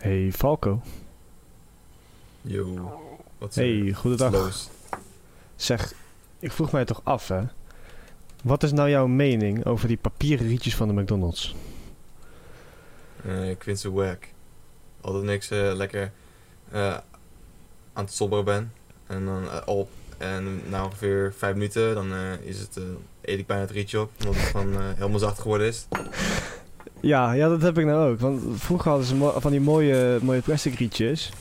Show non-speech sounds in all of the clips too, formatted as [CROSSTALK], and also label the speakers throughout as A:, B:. A: Hey Falco.
B: Yo, wat
A: Hey, goedendag. Zeg, ik vroeg mij toch af, hè. Wat is nou jouw mening over die papieren rietjes van de McDonald's?
B: Eh, ik vind ze wack. Altijd niks eh, lekker eh, aan het sobberen ben. En dan eh, op. En na ongeveer vijf minuten, dan eh, is het, eh, eet ik bijna het rietje op. Omdat het gewoon eh, helemaal zacht geworden is.
A: Ja, ja, dat heb ik nou ook. Want vroeger hadden ze mo- van die mooie, mooie plastic rietjes.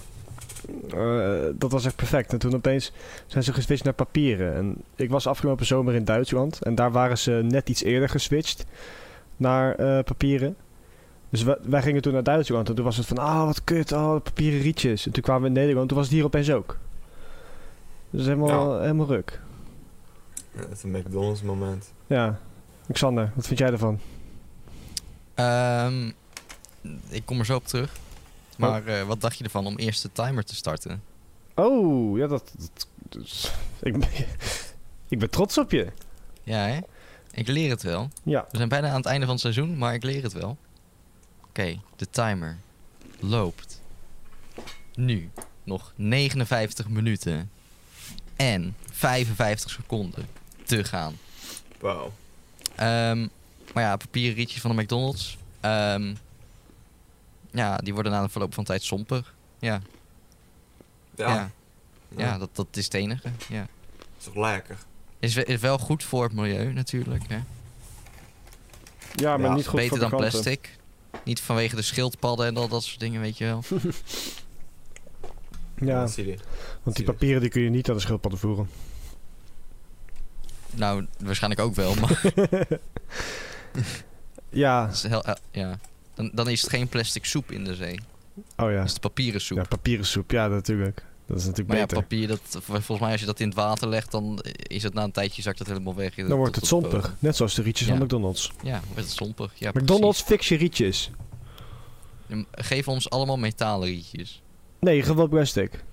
A: Eh, dat was echt perfect. En toen opeens zijn ze geswitcht naar papieren. En ik was afgelopen zomer in Duitsland. En daar waren ze net iets eerder geswitcht naar eh, papieren. Dus we- wij gingen toen naar Duitsland. En toen was het van, ah, wat kut, oh, papieren rietjes. En toen kwamen we in Nederland. En toen was het hier opeens ook. Dus helemaal, helemaal ruk.
B: Eh, het is een McDonald's moment.
A: Ja. Xander, wat vind jij ervan?
C: Ehm, ik kom er zo op terug. Maar eh, wat dacht je ervan om eerst de timer te starten?
A: Oh, ja, dat. dat- dus- [LAUGHS] ik, ben, ik ben trots op je.
C: Ja, hè? Ik leer het wel.
A: Ja.
C: We zijn bijna aan het einde van het seizoen, maar ik leer het wel. Oké, de timer loopt. Nu nog 59 minuten en 55 seconden te gaan.
B: Wauw.
C: Ehm, maar ja, papieren rietjes van de McDonald's. ehm, ja, die worden na de verloop van tijd somper. Ja, ja. ja, dat, dat is het enige. Ja.
B: is toch lekker?
C: Is, we- is wel goed voor het milieu natuurlijk. Hè?
A: Ja, maar
B: Ja,
A: niet goed
C: Beter
A: voor
C: dan
A: de klanten.
C: plastic. Niet vanwege de schildpadden en al dat soort dingen, weet je wel.
A: Hm. Ja,
B: Dat zie je.
A: want die papieren die kun je niet aan de schildpadden [LAUGHS] voeren.
C: Nou, waarschijnlijk ook wel, maar [LAUGHS]
A: Ja.
C: het is heel- eh, ja. dan, dan is het geen plastic soep in de zee.
A: Oh ja.
C: Dan is het papieren soep.
A: Ja, papieren soep. Ja, natuurlijk. Dat is natuurlijk
C: maar ja,
A: beter.
C: papier, dat, volgens mij als je dat in het water legt, dan is het na een tijdje zakt het helemaal weg.
A: dan wordt het somper. Net zoals de rietjes
C: Ja.
A: van McDonald's.
C: Ja, wordt het zompig. Ja,
A: McDonald's, fix je rietjes.
C: precies. Geef ons allemaal metalen rietjes.
A: Nee, gewoon plastic.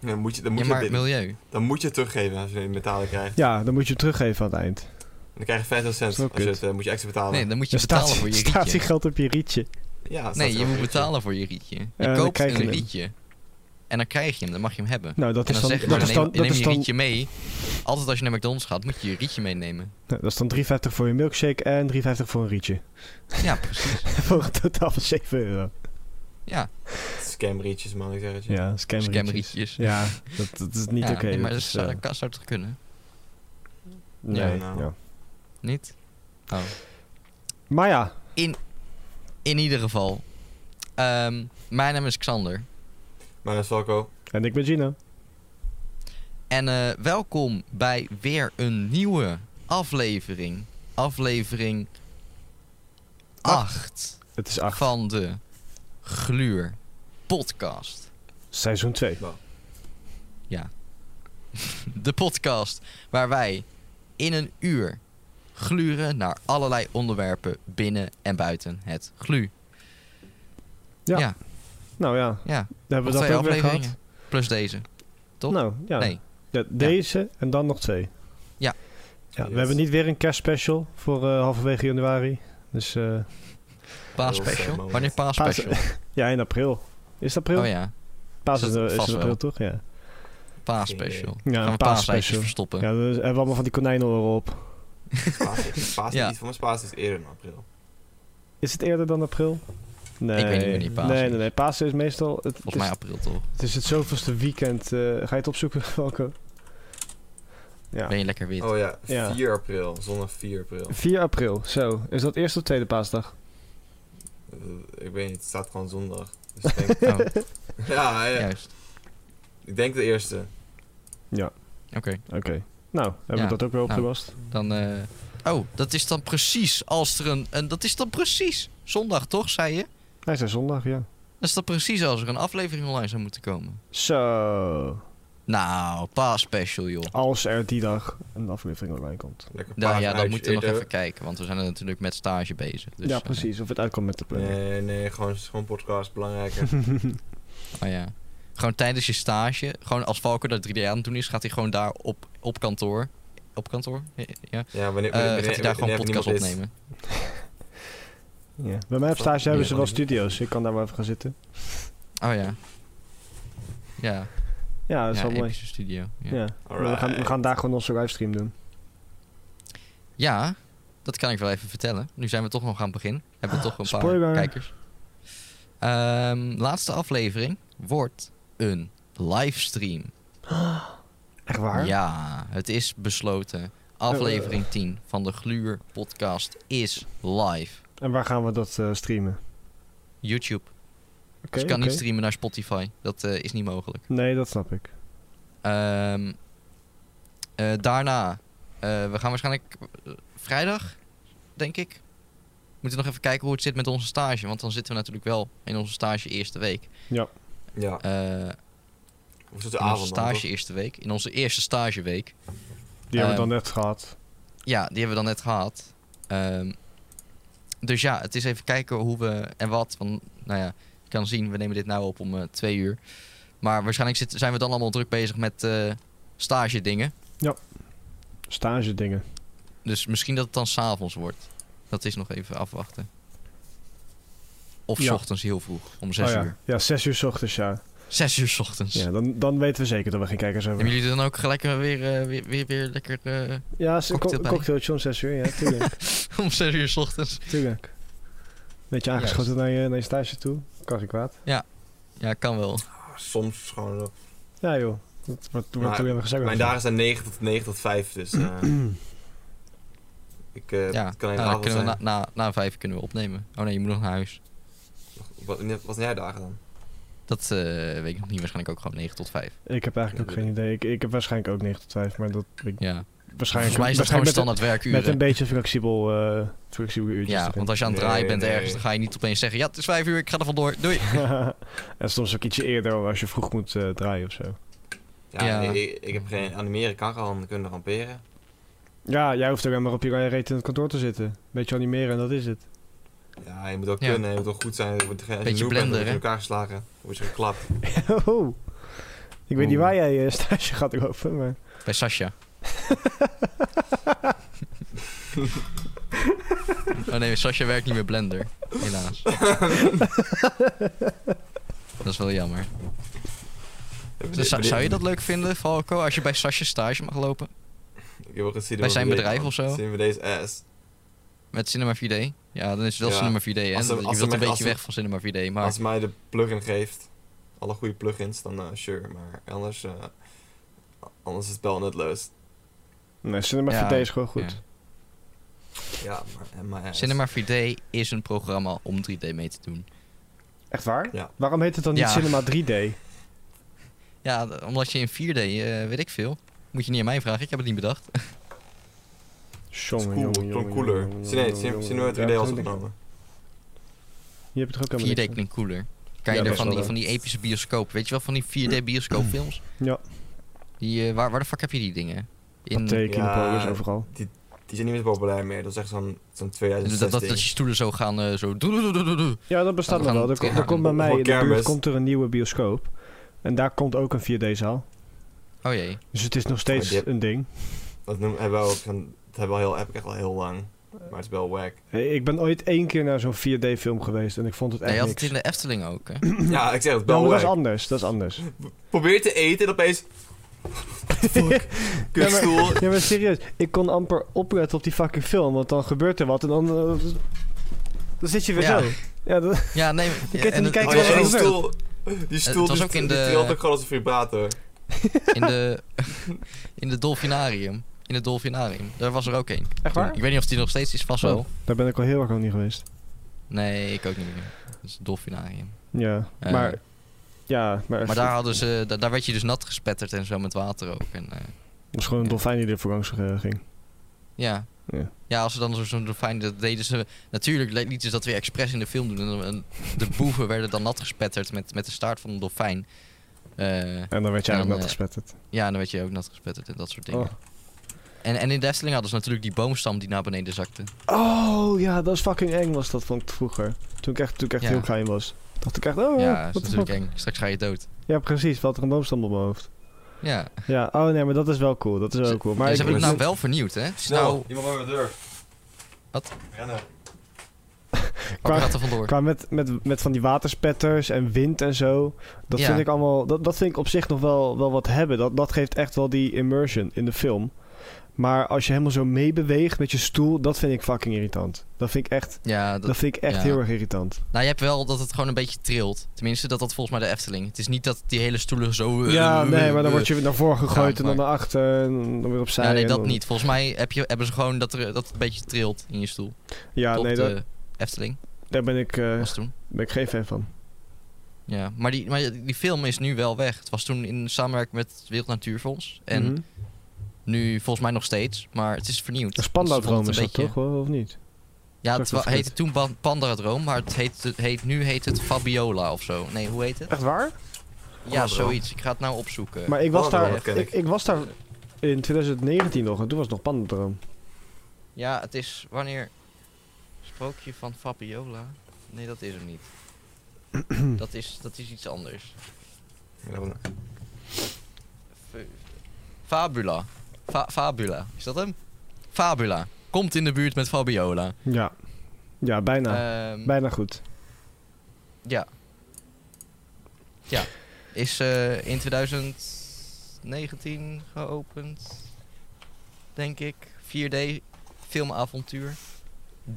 B: Dan moet je, dan moet
C: Ja,
B: je,
C: maar het
B: dit-
C: milieu.
B: dan moet je het teruggeven als je het betalen krijgt.
A: Ja, dan moet je hem teruggeven aan het eind.
B: Dan krijg je 50 cent.
A: Is wel
B: Als je
A: kut.
B: het, eh, moet je extra betalen.
C: Nee, dan moet je
A: Er staat,
C: betalen voor je
A: staat
C: rietje.
A: die geld op je rietje.
B: ja, staat
C: Nee,
B: er
C: je
B: ook
C: moet
B: in.
C: betalen voor je rietje. Je
A: dan
C: koopt
A: krijg je
C: een
A: hem.
C: rietje. En dan krijg je hem, dan mag je hem hebben.
A: Nou, dat
C: en
A: is
C: dan,
A: dan,
C: zeggen
A: dat
C: ze,
A: is
C: neem,
A: dan, dat
C: neem
A: is
C: je
A: dan,
C: rietje mee. Altijd als je naar McDonald's gaat, moet je je rietje meenemen.
A: nou, dat is dan 3,50 voor je milkshake en 3,50 voor een rietje.
C: Ja, precies.
A: [LAUGHS] voor een totaal van 7 euro.
C: Ja,
B: Scamrietjes, man, ik zeg het je.
A: Ja, scamrietjes.
C: scamrietjes.
A: Ja, dat, dat is niet
C: Ja,
A: oké.
C: nee, maar
A: dat
C: dat
A: is,
C: zou,
A: eh,
C: dat kan- zou toch kunnen?
A: nee,
B: Ja, nou.
A: ja.
C: Niet? Oh.
A: Maar ja,
C: In ieder geval. ehm, mijn naam is Xander.
B: Maar dat is Falco.
A: en ik ben Gino.
C: En eh, welkom bij weer een nieuwe aflevering. Aflevering
A: Ah.
C: 8
A: Het is 8,
C: van de Gluur podcast.
A: seizoen 2.
C: De podcast waar wij in een uur gluren naar allerlei onderwerpen binnen en buiten het glu.
A: Ja.
C: ja,
A: Nou ja,
C: ja.
A: dan hebben we
C: Nog
A: dat
C: twee
A: ook weer gehad.
C: afleveringen. Plus deze. toch?
A: Nou, ja.
C: Nee.
A: Ja, deze en dan nog twee.
C: Ja.
A: ja we hebben niet weer een kerstspecial voor eh, halverwege januari. Dus eh,
C: Paas
B: Heel sad
C: special.
B: moment.
C: Wanneer paas
A: Paas-
C: special?
A: [LAUGHS] ja, in april. Is het april?
C: Oh ja,
A: Paas
C: Is
A: is,
C: dat
A: eh, is
C: vast
A: in april
C: wel.
A: toch? Ja,
C: paas special.
A: ja
C: Gaan we
A: een
C: paaseitjes
A: paasspecial.
C: verstoppen.
A: Ja, dan hebben we allemaal van die konijnenoren op.
B: Paas
C: [LAUGHS]
B: is- Paas is
C: Ja.
B: niet. Voor mijn paas is eerder in april.
A: Is het eerder dan april? Nee.
C: weet niet wanneer die Pasen
A: Nee,
C: is.
A: nee, nee. Pasen is meestal... Het, het
C: Volgens
A: is,
C: mij april toch?
A: het is het zoveelste weekend. eh, ga je het opzoeken, [LAUGHS] Falco? Ja.
C: Ben je lekker wit?
B: Oh ja,
A: Ja.
B: 4 april. Zondag 4 april.
A: 4 april, zo. Is dat eerste of tweede paasdag?
B: Eh, ik weet niet, het staat gewoon zondag. Dus ik [LAUGHS]
C: [LAUGHS]
B: denk-
C: Oh,
B: ja, ja,
C: juist.
B: ik denk de eerste.
C: Oké,
A: Oké. Nou, hebben
C: Ja,
A: we dat ook weer
C: nou.
A: opgelost.
C: dan... eh, Oh, dat is dan precies als er een, een... Dat is dan precies zondag, toch, zei je?
A: Hij zei zondag, ja.
C: Dat is dan precies als er een aflevering online zou moeten komen.
A: Zo.
C: Nou, paas special, joh.
A: Als er die dag een aflevering online komt.
B: Lekker
C: Nou ja, dan
B: paasuitje
C: moeten we nog
B: eerder.
C: even kijken, want we zijn er natuurlijk met stage bezig. Dus,
A: Eh, ja,
C: eh,
A: precies. Of het uitkomt met de planning.
B: Nee, nee, gewoon, gewoon podcast,
C: [LAUGHS]
B: belangrijker.
C: oh ja. Gewoon tijdens je stage, gewoon als Valker dat 3D aan het doen is, gaat hij gewoon daar op, op kantoor. Op kantoor? Ja.
B: ja, wanneer, wanneer,
C: Eh, gaat hij
B: wanneer-
C: daar gewoon
B: wanneer
C: podcast
B: niemand is.
C: opnemen.
A: Ja. Bij mij op stage hebben ze
B: Ja.
A: wel studio's. Ik kan daar wel even gaan zitten.
C: Oh ja. Ja,
A: Ja, dat is
C: ja
A: wel mooi.
C: Epische Studio. Ja.
A: Ja. Maar We, gaan, we gaan daar gewoon onze livestream doen.
C: Ja, dat kan ik wel even vertellen. Nu zijn we toch nog aan het begin. Hebben we toch een
A: Spoiler.
C: paar kijkers. Ehm, laatste aflevering wordt een livestream.
A: Echt waar?
C: Ja, het is besloten.
A: Eh.
C: Aflevering 10 van de Gluur podcast is live.
A: En waar gaan we dat eh, streamen?
C: YouTube.
A: Oké.
C: dus ik kan
A: oké.
C: niet streamen naar Spotify. Dat eh, is niet mogelijk.
A: Nee, dat snap ik.
C: Ehm, eh, daarna, eh, we gaan waarschijnlijk eh, vrijdag, denk ik. Moeten nog even kijken hoe het zit met onze stage. Want dan zitten we natuurlijk wel in onze stage eerste week.
B: Ja,
C: Eh,
B: of is het de
C: in onze
B: avond dan,
C: stage
B: toch?
C: eerste week. In onze eerste stageweek.
A: Die hebben we dan
C: Ehm,
A: net gehad.
C: Ja, die hebben we dan net gehad. Ehm, dus ja, het is even kijken hoe we en wat. Want, nou ja, je kan zien, we nemen dit nou op om eh, twee uur. Maar waarschijnlijk zit, zijn we dan allemaal druk bezig met eh stage dingen.
A: Stage dingen.
C: Dus misschien dat het dan s'avonds wordt. Dat is nog even afwachten. Of s
A: Ja.
C: ochtends heel vroeg, om zes
A: Oh, ja.
C: uur.
A: Ja, zes uur s ochtends, ja.
C: Zes uur s ochtends.
A: Ja, dan, dan weten we zeker dat we geen kijkers hebben.
C: Hebben jullie dan ook gelijk eh, weer, eh, weer, weer, weer lekker eh, [LAUGHS]
A: Ja, een
C: cocktail bij?
A: cocktailtje om zes uur, ja,
C: [LAUGHS]
A: tuurlijk.
C: om zes uur s ochtends?
A: tuurlijk. Beetje aangeschoten naar je, naar je stage toe. Kan ik kwaad.
C: Ja, kan wel.
B: Ah, Soms gewoon. eh,
A: Ja joh, dat wordt, wordt
B: Maar
A: toen weer gezegd.
B: Mijn dagen zijn 9 tot, 9 tot 5, dus. eh ik eh,
C: ja,
B: het kan in de
C: nou, dan
B: avond
C: kunnen we
B: zijn.
C: na, na, na vijf kunnen we opnemen. Oh nee, je moet nog naar huis.
B: Wat, wat zijn jij dagen dan?
C: Dat eh, weet ik nog niet. Waarschijnlijk ook gewoon 9 tot 5.
A: Ik heb eigenlijk ook
B: Ja,
A: geen idee. Ik, ik heb waarschijnlijk ook 9 tot 5, maar dat... Ik,
C: Ja.
A: waarschijnlijk,
C: Volgens mij is dat
A: waarschijnlijk
C: gewoon
A: met,
C: standaard
A: een-
C: werkuren.
A: met een beetje flexibel, eh flexibel uurtjes
C: ja,
A: erin.
C: want als je aan het
B: Nee,
C: draaien bent
B: nee.
C: ergens, dan ga je niet opeens zeggen... Ja, het is 5 uur, ik ga er vandoor. Doei.
A: [LAUGHS] en soms ook ietsje eerder als je vroeg moet eh, draaien of zo.
B: Ja,
C: Ja.
B: nee, ik, ik heb geen animeren, kan gewoon kunnen ramperen.
A: Ja, jij hoeft ook helemaal op je reet in het kantoor te zitten. Beetje animeren en dat is het.
B: Ja, je moet ook
C: Ja.
B: kunnen, je moet ook goed zijn. Je wordt geen
C: Beetje blender,
B: in
C: hè?
B: elkaar geslagen, dan word je geklapt.
A: [LAUGHS] Oh. Ik weet niet
C: Oeh.
A: waar jij je [LAUGHS] stage gaat lopen, maar...
C: Bij
B: [LAUGHS]
C: Sascha. oh nee, Sascha werkt niet meer Blender. Helaas.
B: [LAUGHS]
C: dat is wel jammer. Dus zou, zou je dat leuk vinden, Falco, als je bij Sascha stage mag lopen?
B: Ik heb ook gezien
C: Bij zijn bedrijf of zo?
B: Zien we deze ass.
C: Met Cinema 4D? Ja, dan is het wel
B: Ja.
C: Cinema 4D, hè?
B: Als ze-
C: je
B: als ze
C: wilt een
B: met- als
C: beetje
B: ze-
C: weg van Cinema 4D, maar...
B: Als ze mij de plugin geeft, alle goede plugins, dan eh, sure. Maar anders, eh, anders is het wel net leus.
A: Nee, Cinema
C: Ja,
A: 4D is gewoon goed.
C: ja.
B: Ja, maar, en mijn ass.
C: Cinema 4D is een programma om 3D mee te doen.
A: Echt waar?
B: Ja.
A: Waarom heet het dan niet
C: Ja.
A: Cinema 3D?
C: Ja, d- omdat je in 4D, eh, weet ik veel. Moet je niet aan mij vragen, ik heb het niet bedacht.
B: Het is
A: Jongen,
B: cool,
A: jongen,
B: het klonk
A: jongen,
B: cooler.
A: jongen,
B: Nee,
A: jongen,
B: Cin-
A: jongen.
B: Cinema 3D
A: Ja,
B: was
A: zo denk ik.
B: opgenomen.
A: Je hebt het ook
C: 4D
A: helemaal niks.
C: klinkt cooler.
A: Ja,
C: Kan je
A: dat
C: er
A: is
C: van
A: wel
C: die,
A: waar.
C: van die epische bioscoop, weet je wel, van die 4D bioscoopfilms?
A: Ja.
C: Die, eh, waar, waar de fuck heb je die dingen? In,
A: Pathé, Kinepolis,
B: Ja,
A: overal.
B: Die zijn niet meer zo populair meer, dat is echt zo'n zo'n
C: Dus dat,
B: 2016.
C: dat, dat je stoelen zo gaan, eh, zo... doe- doe- doe- doe- doe.
A: Ja, dat bestaat
C: we
A: nog
C: gaan
A: wel. Er, ko-
C: terug
A: er
C: naar
A: komt bij
C: een-
A: mij
B: voor
A: in de buurt
B: kermis.
A: komt er een nieuwe bioscoop. En daar komt ook een 4D-zaal.
C: Oh jee.
A: Dus het is nog
B: Oh,
A: steeds
B: die heb-
A: een ding.
B: Dat noemen- hebben we ook, zo'n- dat hebben we al heel, heb ik echt al heel lang. Maar het is wel
A: [CLEARS THROAT]
B: wack.
A: Hey, Ik ben ooit één keer naar zo'n 4D-film geweest en ik vond het
C: Nee,
A: echt
C: je had
A: niks.
C: het in de Efteling ook,
A: [LAUGHS]
C: hè?
B: Ja, ik zeg het,
A: Ja, maar
B: wel
A: Nou, dat
B: wack.
A: is anders, dat is anders.
B: Probeer te eten en opeens... [LAUGHS] Fuck, kutstoel.
A: Ja, maar serieus, ik kon amper opletten op die fucking film, want dan gebeurt er wat en dan... eh, dan zit je weer
C: Ja.
A: zo. Ja, dat,
C: Ja, nee... Je
A: kunt er niet kijken
B: Oh, ja,
A: wat er
B: die
A: gebeurt.
B: stoel, die stoel
C: Eh, het was
B: die,
C: ook in
B: die
C: de-
B: trilt ook gewoon als een vibrator.
C: In de, [LAUGHS] in de Dolfinarium. In het Dolfinarium. Daar was er ook één.
A: echt waar?
C: Ik weet niet of die nog steeds is, vast wel.
A: Oh. Daar ben ik al heel erg lang niet geweest.
C: Nee, ik ook niet meer. Dat is het Dolfinarium.
A: Ja,
C: Eh,
A: maar... Ja, maar...
C: Maar daar, hadden ze, da- daar werd je dus nat gespetterd en zo met water ook. En, eh,
A: Dat is gewoon een dolfijn die er voor langs eh, ging.
C: ja.
A: Ja.
C: ja. als ze dan zo- zo'n dolfijn, dat deden ze... Natuurlijk le- lieten ze dat weer expres in de film doen. En, dan- en
A: [LAUGHS]
C: de boeven werden dan nat gespetterd met, met de staart van een dolfijn. Eh,
A: En dan werd jij
C: En
A: ook
C: dan,
A: nat
C: eh,
A: gespetterd.
C: ja, en dan werd je ook nat gespetterd en dat soort dingen.
A: Oh.
C: En, en in de Efteling hadden ze natuurlijk die boomstam die naar beneden zakte.
A: Oh, ja, dat is fucking eng was dat, vond ik vroeger. Toen ik echt, toen ik echt
C: Ja.
A: heel klein was. Dacht ik echt, oh,
C: ja, dat
A: wat
C: is natuurlijk eng. Straks ga je dood.
A: Ja, precies, valt er een boomstam op mijn hoofd.
C: Ja.
A: Ja, oh nee, maar dat is wel cool, dat is wel cool. Maar
C: Ja,
A: ik-
C: ze hebben het nou
A: ik- Nou,
C: wel vernieuwd, hè? Het is
B: Snel,
C: nou-
B: iemand bij mijn deur.
C: Wat?
B: Rennen.
C: Qua, gaat er vandoor.
A: Qua met, met, met van die waterspetters en wind en zo. Dat
C: Ja.
A: vind ik allemaal. Dat, dat vind ik op zich nog wel, wel wat hebben. Dat, dat geeft echt wel die immersion in de film. Maar als je helemaal zo meebeweegt met je stoel, dat vind ik fucking irritant. Dat vind ik echt,
C: Ja,
A: dat,
C: dat,
A: vind ik echt
C: ja.
A: heel erg irritant.
C: nou je hebt wel dat het gewoon een beetje trilt. Tenminste, dat dat volgens mij de Efteling. Het is niet dat die hele stoelen zo... eh,
A: ja, nee, maar dan word je weer naar voren gegooid
C: Ja,
A: en dan naar achter en dan weer opzij.
C: Ja, nee,
A: en
C: dat
A: dan-
C: niet. Volgens mij heb je, hebben ze gewoon dat, er, dat het een beetje trilt in je stoel.
A: Ja,
C: Tot
A: nee, dat,
C: de Efteling
A: daar ben ik, eh,
C: was toen.
A: ben ik geen fan van.
C: Ja, maar die, maar die film is nu wel weg. Het was toen in samenwerking met het Wereld Natuurfonds. En
A: Mhm.
C: nu volgens mij nog steeds, maar het is vernieuwd.
A: Een
C: Want ze vonden
A: Spandau-droom is
C: het een
A: dat toch, hoor, of niet?
C: Ja,
A: Dat
C: het
A: was
C: wa-
A: kut.
C: heette toen Ban- Pandora-droom, maar het heet, het heet, nu heet het Fabiola of zo. Nee, hoe heet het?
A: Echt waar?
C: Ja,
B: Pandora-droom.
C: zoiets. Ik ga het nou opzoeken.
A: Maar ik was,
B: Pandora,
A: daar,
B: dat ken
A: ik,
B: ik.
A: ik was daar in 2019 nog en toen was het nog Pandadroom.
C: Ja, het is wanneer... Sprookje van Fabiola? Nee, dat is hem
A: [CLEARS THROAT]
C: niet. dat, is, dat is iets anders. Fe- Fabula. Fa- Fabula. Is dat hem? Fabula. Komt in de buurt met Fabiola.
A: Ja. Ja, bijna.
C: Ehm,
A: bijna goed.
C: Ja. Ja. Is eh, in 2019 geopend. Denk ik. 4D filmavontuur.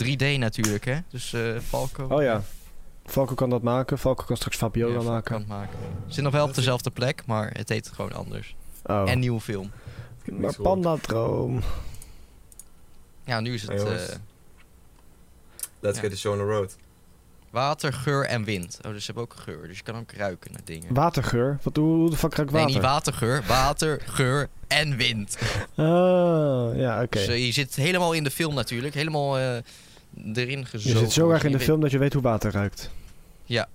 C: 3D natuurlijk, hè? Dus eh Falco.
A: Oh ja. Valko kan dat maken. Valko kan straks
C: Ja,
A: Fabiola
C: Falco
A: maken.
C: kan het maken. Zit nog wel op dezelfde plek, maar het heet gewoon anders.
A: Oh.
C: En nieuwe film.
A: maar Pandadroom.
C: Ja, nu is
B: Ja,
C: het
B: jongens.
C: eh,
B: Let's
C: Ja.
B: get the show on the road.
C: water, geur en wind. Oh, dus ze hebben ook geur. Dus je kan ook ruiken naar dingen.
A: Watergeur? Wat, hoe, hoe de fuck ruikt
C: Nee,
A: water?
C: niet watergeur. Water, geur en wind.
A: Ah, ja, oké.
C: Dus eh, je zit helemaal in de film natuurlijk, helemaal eh, erin
A: Je
C: gezogen.
A: zit zo erg in de
C: Je
A: film dat je weet hoe water ruikt.
C: weet-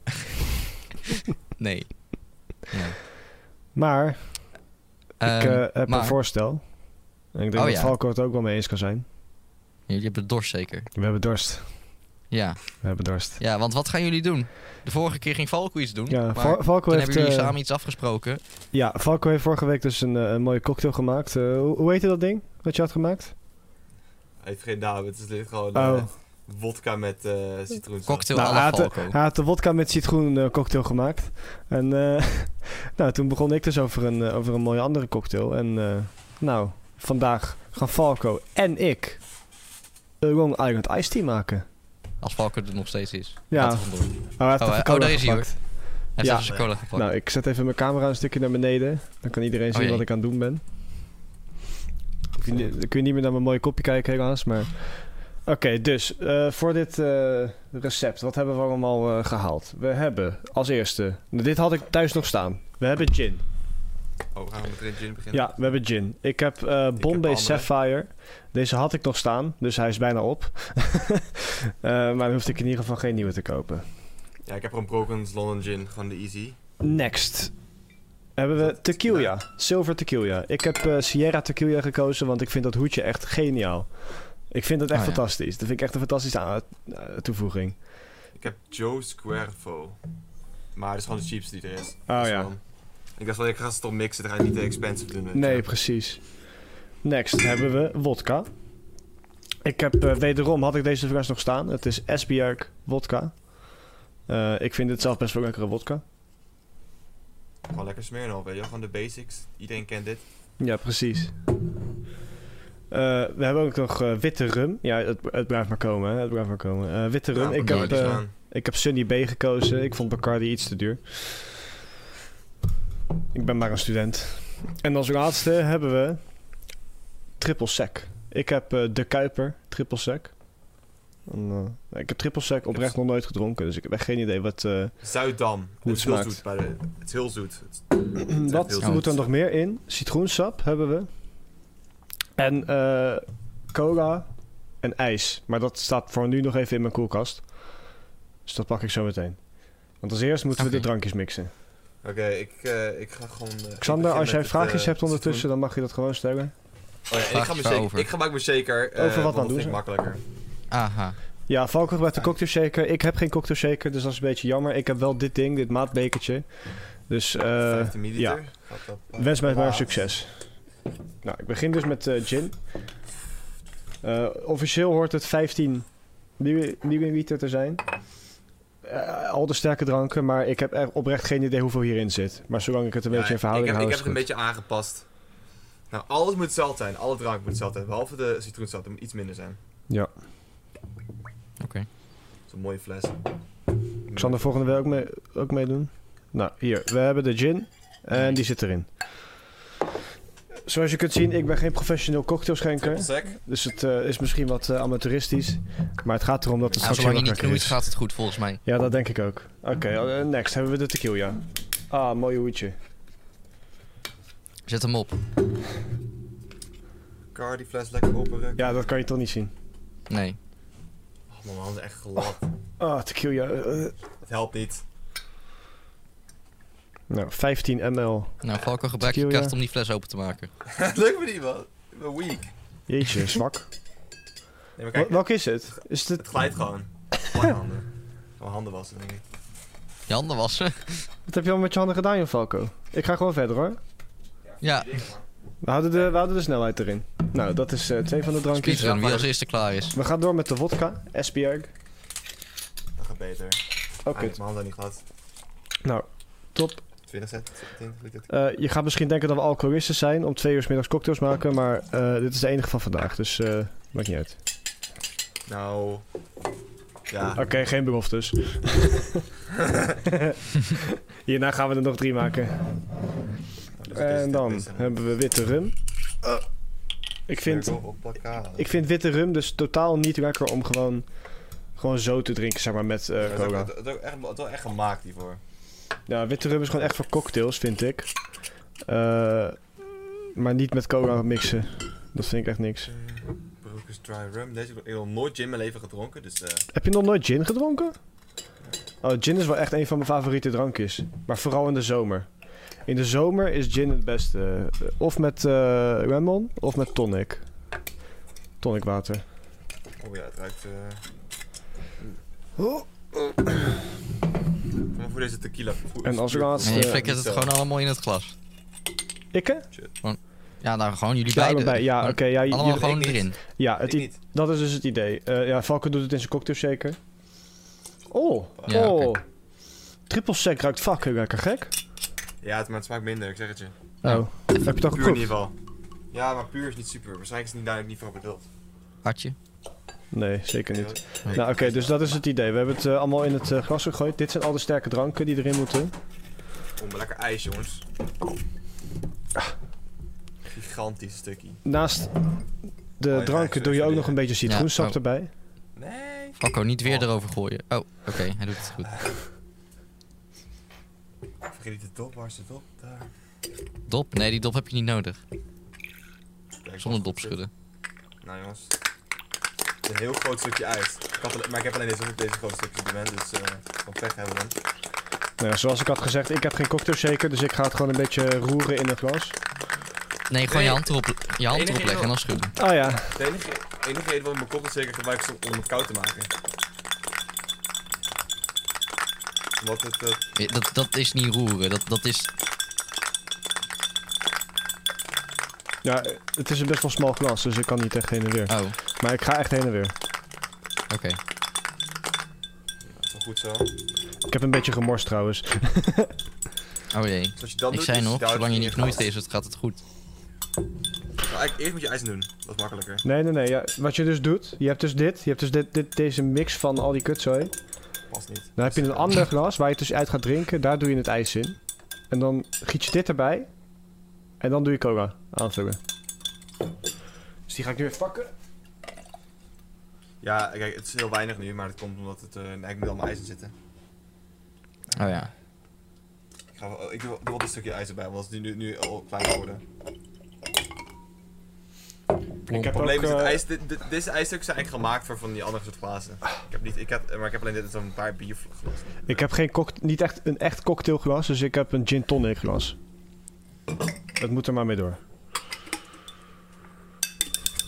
A: [LAUGHS]
C: Nee. Ja.
A: Maar ik
C: Ehm,
A: eh, heb
C: maar-
A: een voorstel. En ik denk
C: Oh
A: dat
C: ja.
A: Valko het ook wel mee eens kan zijn.
C: Jullie hebben het dorst zeker.
A: We hebben dorst.
C: Ja.
A: We hebben dorst.
C: ja, want wat gaan jullie doen? De vorige keer ging Falco iets doen,
A: Ja,
C: maar
A: Val-
C: toen
A: Valko heeft...
C: hebben jullie
A: eh,
C: samen iets afgesproken.
A: Ja, Falco heeft vorige week dus een, eh, een mooie cocktail gemaakt. Eh, hoe, hoe heette dat ding wat je had gemaakt?
B: Hij heeft geen naam, het is dit gewoon
A: Oh.
B: eh, vodka met eh citroensap.
C: Cocktail
A: Nou,
C: à la
A: hij had,
C: Falco.
A: hij had de wodka met citroen eh, cocktail gemaakt. En eh, [LAUGHS] nou, toen begon ik dus over een, eh, over een mooie andere cocktail. En eh, nou, vandaag gaan Falco en ik een Long Island Ice Tea maken.
C: Als Falco er nog steeds is.
A: Ja.
C: Gaat er vandoor. Hij
A: Oh, hij heeft
C: Oh,
A: even
C: eh,
A: cola
C: oh, daar is hij, hoor.
A: gepakt.
C: heeft
A: Ja.
C: zelfs zijn cola gepakt.
A: Nou, ik zet even mijn camera een stukje naar beneden. Dan kan iedereen
C: Oh,
A: zien
C: jee.
A: wat ik aan het doen ben. Hoef je niet- Dan kun je niet meer naar mijn mooie kopje kijken helaas, maar... Oké, dus eh, voor dit eh, recept, wat hebben we allemaal eh, gehaald? We hebben als eerste, nou, dit had ik thuis nog staan. We hebben gin.
B: Oh, gaan we met Red Gin beginnen?
A: Nou. Ja, we hebben gin. Ik heb eh, Bombay
B: andere.
A: Sapphire. Deze had ik nog staan, dus hij is bijna op. [LAUGHS] Eh, maar dan hoefde ik in ieder geval geen nieuwe te kopen.
B: Ja, ik heb gewoon Brokens London Gin, gewoon de easy.
A: Next hebben we tequila. Silver tequila. Ik heb eh, Sierra tequila gekozen, want ik vind dat hoedje echt geniaal. Ik vind het echt
C: Oh, ja.
A: fantastisch. Dat vind ik echt een fantastische aan- eh, toevoeging.
B: Ik heb Joe Squervo. Maar het is gewoon de cheapste die er is.
A: Oh,
B: Dus
A: ja.
B: dan- Ik dacht wel, ik ga ze toch mixen, dan ga je niet te expensive doen. weet je.
A: Nee, precies. Next hebben we wodka. Ik heb eh, wederom, had ik deze fles nog staan. Het is Esbjerg wodka. Eh, ik vind het zelf best wel lekkere wodka.
B: Gewoon lekker smeren al, weet je wel. Gewoon de basics. Iedereen kent dit.
A: Ja, precies. Eh, we hebben ook nog eh, witte rum. Ja, het, het blijft maar komen. Hè? Het blijft maar komen. Eh, witte rum.
B: Ja,
A: ik,
B: kan
A: heb,
B: er niks
A: eh,
B: aan.
A: ik heb Sunny B gekozen. Ik vond Bacardi iets te duur. Ik ben maar een student. En als laatste hebben we triple sec. Ik heb eh, de Kuiper triple sec. En, eh, ik heb triple sec oprecht nog nooit gedronken, dus ik heb echt geen idee wat. eh,
B: Zuiddam. het is heel
A: smaakt.
B: zoet bij de... Het is heel zoet. Het-
A: Wat
B: heel
A: Mm, moet er
B: zoet.
A: nog meer in? Citroensap hebben we. En eh, cola en ijs. Maar dat staat voor nu nog even in mijn koelkast. Dus dat pak ik zo meteen. Want als eerst moeten
C: Oké.
A: we de drankjes mixen.
B: Oké, ik, eh, ik ga gewoon... eh, ik
A: Xander,
B: begin
A: als jij
B: met
A: vraagjes
B: het, eh,
A: hebt ondertussen, dan mag je dat gewoon stellen.
B: citroen. Oh, ja, ik, ga me
C: Vraagjes
B: zeker,
C: waarover?
B: ik ga maak me zeker. eh,
A: Over wat dan
B: want dat
A: doen
B: vind ik makkelijker.
C: Aha.
A: Ja, Valko gebruikt de cocktail shaker. Ik heb geen cocktail shaker, dus dat is een beetje jammer. Ik heb wel dit ding, dit maatbekertje. Dus eh
B: 15 milliliter. Gaat dat, eh,
A: wens mij maar
B: laat?
A: succes. Nou, ik begin dus met eh, gin. Eh, officieel hoort het 15 Nieuwe, nieuwe wieten er zijn. Eh, al de sterke dranken, maar ik heb echt oprecht geen idee hoeveel hierin zit. Maar zolang ik het een
B: Ja,
A: beetje in
B: ik
A: verhouding
B: heb, ik
A: hou, is
B: heb het een
A: het goed.
B: beetje aangepast. Nou, alles moet hetzelfde zijn. Alle drank moet hetzelfde zijn. Behalve de citroensap, dat moet iets minder zijn.
A: Ja.
C: Oké.
B: Zo'n mooie fles.
A: Ik zal er volgende week ook mee, ook mee doen. Nou, hier. We hebben de gin. En die zit erin. Zoals je kunt zien, ik ben geen professioneel cocktailschenker.
B: Triple sec.
A: Dus het eh, is misschien wat eh, amateuristisch. Maar het gaat erom dat het
C: Nou,
A: straks
C: zolang je
A: heel
C: niet
A: lekker
C: knoeit
A: is.
C: gaat het goed volgens mij.
A: Ja, dat denk ik ook. Oké, eh, next hebben we de tequila. Ah, mooi hoedje.
C: Zet hem op.
B: Car, die fles lekker openrukken.
A: Ja, dat kan je toch niet zien.
C: Nee.
B: Oh, mijn hand is echt glad.
A: Ah, tequila. eh, eh.
B: Het helpt niet.
A: nou, 15 ml.
C: Nou, Valko, gebruik je
A: Tequila.
C: kracht om die fles open te maken.
B: [LAUGHS] Het lukt me niet, man. Ik ben weak.
A: [LAUGHS] Jeetje, zwak.
B: Nee, maar
A: Wel-
B: kijk,
A: Welke is het? Is dit...
B: het glijdt gewoon. Mijn handen. Ik ga Mijn handen wassen, denk ik.
C: Je handen wassen. [LAUGHS]
A: Wat heb je al met je handen gedaan, Jan Falco? Ik ga gewoon verder hoor.
C: Ja.
A: We houden de, we houden de snelheid erin. Nou, dat is eh, twee van de drankjes.
C: Speedrun, wie als eerste klaar is.
A: We gaan door met de vodka. Esbjerg.
B: Dat gaat beter.
A: Oh,
B: Ah, ik heb
A: kut.
B: mijn handen niet glad.
A: Nou, top.
B: 20 set, 20 lukt het.
A: Eh, je gaat misschien denken dat we alcoholisten zijn om twee uur 's middags cocktails maken, maar eh, dit is de enige van vandaag, dus eh, maakt niet uit.
B: Nou. Ja. Ah.
A: Oké, geen
B: [LAUGHS]
A: beloftes. Hierna gaan we er nog drie maken.
B: Nou, dus dit is-
A: En dan
B: dit is een Ah.
A: hebben we witte rum. Ik vind,
B: cirkel op elkaar.
A: ik vind witte rum dus totaal niet lekker om gewoon, gewoon zo te drinken, zeg maar, met eh,
B: Ja, het is ook-
A: cola.
B: het is ook echt- Het is wel echt gemaakt hiervoor.
A: Ja, witte rum is gewoon echt voor cocktails, vind ik. Eh, maar niet met cola mixen. Dat vind ik echt niks.
B: Broekers Dry Rum. Deze heb ik nog nooit gin in mijn leven gedronken, dus... eh,
A: Heb je nog nooit gin gedronken? Oh, gin is wel echt een van mijn favoriete drankjes. Maar vooral in de zomer. In de zomer is gin het beste. Of met eh lemon, of met tonic. Tonic water.
B: oh ja, het ruikt... eh, Kom maar voor deze tequila. Voor-
A: En als
B: voor-
A: laatste-
C: En
A: Nee,
C: je
A: eh,
C: flikkert het gewoon allemaal in het glas.
A: Ikke?
C: Ja, nou gewoon jullie
A: Ja,
C: beiden.
A: allebei. Ja, oké. ja, j-
C: Allemaal
A: j-
C: gewoon
B: ik niet.
C: erin.
A: ja,
B: Ik
A: het i-
B: niet.
A: dat is dus het idee. Eh, ja, Valken doet het in zijn cocktail shaker. Oh,
C: Ja,
A: oh.
C: oké.
A: Triple sec ruikt fucking lekker gek.
B: Ja, het, maar het smaakt minder, ik zeg het je.
C: Ja.
A: Oh, heb je het al
B: Puur in
A: geproefd?
B: ieder geval. Ja, maar puur is niet super. Waarschijnlijk is het niet duidelijk niet voor bedoeld.
C: Hartje.
A: Nee, zeker niet.
B: Nee,
A: Nou, oké,
B: ik-
A: dus dat is het idee. We hebben het eh, allemaal in het eh, glas gegooid. Dit zijn al de sterke dranken die erin moeten.
B: Kom, maar lekker ijs, jongens. Gigantisch stukje.
A: Naast de
B: Oh ja, ik
A: dranken
B: zou
A: doe je
B: even
A: ook
B: die-
A: nog een beetje citroensap
C: Ja, oh.
A: erbij.
B: Nee.
C: Valko, niet weer
B: Oh.
C: erover gooien. Oh, oké, hij doet het goed.
B: Vergeet niet de dop, waar is de dop? Daar.
C: Dop? Nee, die dop heb je niet nodig.
B: Kijk,
C: Zonder
B: wat
C: dop
B: goed
C: schudden.
B: zit. Nou, jongens. Het is Een heel groot stukje ijs. Ik had alleen- maar ik heb alleen deze, deze groot stukje op dit moment, dus eh van pech hebben we dan.
A: Nou, ja, zoals ik had gezegd, ik heb geen cocktail shaker, dus ik ga het gewoon een beetje roeren in het glas.
C: Nee, gewoon
B: Nee.
C: je hand erop, je hand
B: Enige
C: erop leggen en dan schudden.
A: Ah ja,
B: De enige, enige reden waarom ik mijn kop zeker gebruik is om om het koud te maken. Omdat het... eh,
C: Ja, Dat, dat is niet roeren, dat, dat is...
A: ja het is een best wel smal glas, dus ik kan niet echt heen en weer.
C: Oh, oké.
A: Maar ik ga echt heen en weer.
B: dat is wel goed zo. Dus
A: Ik heb een beetje gemorst trouwens.
C: Oh jee.
B: Zoals je dat
C: Ik
B: doet,
C: zei
B: is
C: nog,
B: daar
C: zolang je
B: in
C: niet
B: ieder
C: knoeit
B: geval-
C: is, het gaat het goed.
B: Nou, eigenlijk eerst moet je ijs doen. Dat is makkelijker.
A: Nee, nee, nee. Ja, wat je dus doet, je hebt dus dit. Je hebt dus dit, dit, deze mix van al die kutzooi.
B: Past niet.
A: Dan heb je een ander glas waar je het dus uit gaat drinken. Daar doe je het ijs in. En dan giet je dit erbij. En dan doe je cola aanvullen. Dus die ga ik nu even pakken.
B: Ja, kijk, het is heel weinig nu, maar dat komt omdat het eh eigenlijk niet allemaal ijs in zitten.
C: Oh ja.
B: Ik, ga, wel- oh, ik doe, doe wel een stukje ijs erbij, want het is nu, nu al klein geworden. Het
A: Ik heb
B: probleem
A: ook,
B: is dat
A: eh,
B: ijs, dit, dit, deze ijsstukken zijn eigenlijk gemaakt voor van die andere soort glazen. Ik heb niet, ik heb, maar ik heb alleen dit zo'n paar bierglazen.
A: Ik heb geen cock- niet echt een echt cocktailglas, dus ik heb een gin tonic glas. Dat moet er maar mee door.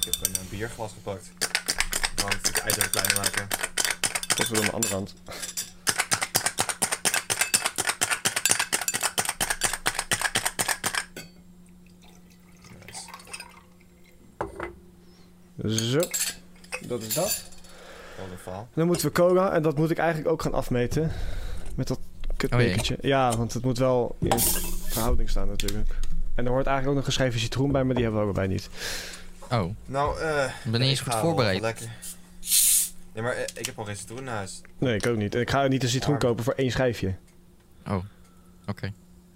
B: Ik heb een, eh, bierglas gepakt. Om het stukje ijs even kleiner maken.
A: Tot we aan de andere hand.
B: Nice.
A: Zo. Dat is dat.
B: Wat een faal.
A: Dan moeten we cola en dat moet ik eigenlijk ook gaan afmeten. Met
C: Oh
A: dat kutbekertje. ja, want het moet wel in verhouding staan natuurlijk. En er hoort eigenlijk ook nog een schijfje citroen bij, maar die hebben we ook bij niet.
C: Oh,
B: Nou, eh...
C: ik ben niet eens
B: ik
C: goed
B: ga wel
C: voorbereid.
B: Lekker. Nee, maar eh, ik heb al geen citroen in huis.
A: Nee, ik ook niet. En ik ga niet een citroen
B: Arme.
A: kopen voor één schijfje.
C: Oké.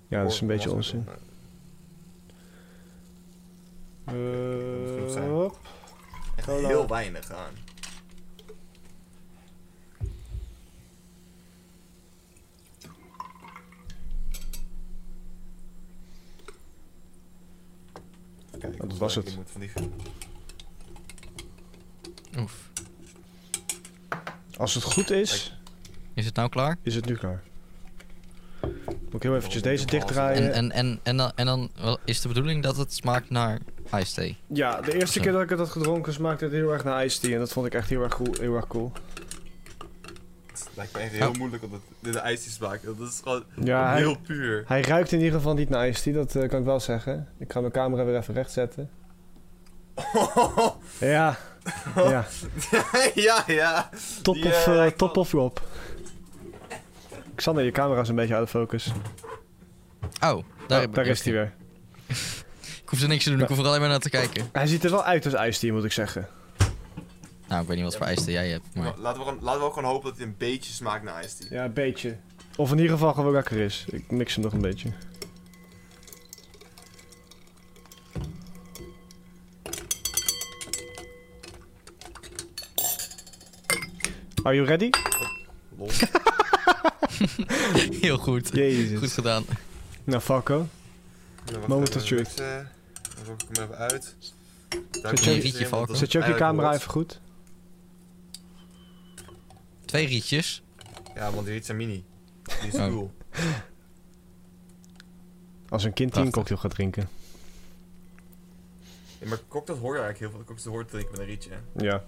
A: Ja, dat is een
B: Hoor-
A: beetje
B: was-
A: onzin.
B: eh, moet goed zijn.
A: hop.
B: Echt
A: Cola.
B: heel weinig aan. Kijk,
A: dat was
B: ik
A: het.
B: moet van die-
C: Oef.
A: Als het goed is,
C: Is het nou klaar?
A: is het nu klaar. Moet ik heel eventjes deze
C: En,
A: dichtdraaien.
C: en, en, en, dan, en dan wel- is de bedoeling dat het smaakt naar iced thee.
A: Ja, de eerste keer dat ik het had gedronken smaakte het heel erg naar iced tea. En dat vond ik echt heel erg cool. Heel erg cool.
B: Het lijkt me echt heel
C: Oh.
B: moeilijk om dat, dit de ijsjes te maken. Dat is gewoon
A: Ja, hij,
B: heel [LAUGHS] puur.
A: hij ruikt in ieder geval niet naar iced tea, dat eh, kan ik wel zeggen. Ik ga mijn camera weer even rechtzetten. Ja, ja.
B: ja, ja.
A: Top
B: Die,
A: of,
B: eh,
A: eh,
B: lijkt
A: top of Rob. Xander, je camera is een beetje uit de focus.
C: Oh, daar,
A: Daar, daar is hij
C: weer.
A: weer.
C: Ik hoef er niks te doen, ik hoef er alleen maar naar te kijken.
A: Hij ziet er wel uit als iced tea, moet ik zeggen.
C: Nou, ik weet niet wat voor iced thee jij hebt, maar...
B: Nou, Laten, we gewoon, laten we ook gewoon hopen dat hij een beetje smaakt naar iced tea.
A: Ja, een beetje. Of in ieder geval gewoon lekker is. Ik mix hem nog een beetje. Are you ready?
B: Lol.
C: Heel goed.
A: Jezus.
C: Goed gedaan.
A: Nou, Falco.
B: Nou, wacht
A: Moment
B: even,
A: of truth.
B: Dan rok ik hem even uit. Daar
A: Zet
B: komt
A: je-
B: iets in,
C: Rietje
B: want
C: Valken.
B: dat
A: Zet je ook je
B: eigenlijk
A: camera
B: hoort.
A: even goed?
C: Twee rietjes.
B: Ja, want die riet zijn mini. Die is
C: Oh.
B: cool.
A: Als een kind die een
C: Prachtig.
A: cocktail gaat drinken.
B: Ja, maar cocktails hoor je eigenlijk heel veel. Cocktails hoort drinken met een rietje. hè.
A: Ja. Mm.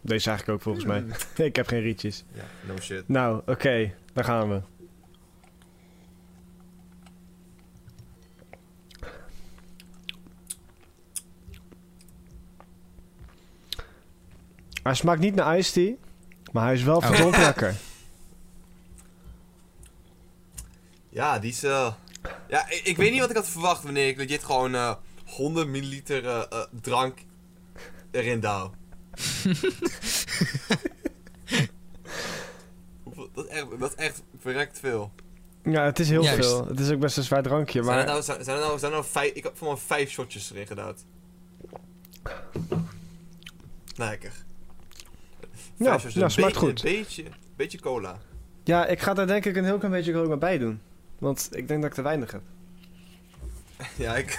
A: Deze eigenlijk ook volgens mij. [LAUGHS] ik heb geen rietjes.
B: Ja, no shit.
A: Nou, oké. Daar gaan we. Hij smaakt niet naar iced tea, maar hij is wel [LAUGHS]
C: Oh.
A: verdomd lekker.
B: Ja, die is... eh, Ja, ik, ik weet niet wat ik had verwacht wanneer ik legit gewoon eh 100 milliliter eh, eh, drank erin douw. Hoeveel- dat, is echt, dat is echt verrekt veel.
A: Ja, het is heel
C: Juist.
A: veel. Het is ook best een zwaar drankje,
B: Zijn er
A: maar...
B: nou, zijn, zijn er nou, zijn er nou vijf, ik heb voor maar vijf shotjes erin gedaan. Lekker.
A: Ja,
B: shotjes,
A: ja,
B: een
A: smaakt
B: beetje-
A: goed.
B: Een beetje, beetje cola.
A: Ja, ik ga daar denk ik een heel klein beetje cola bij doen. Want ik denk dat ik te weinig heb.
B: ja, ik,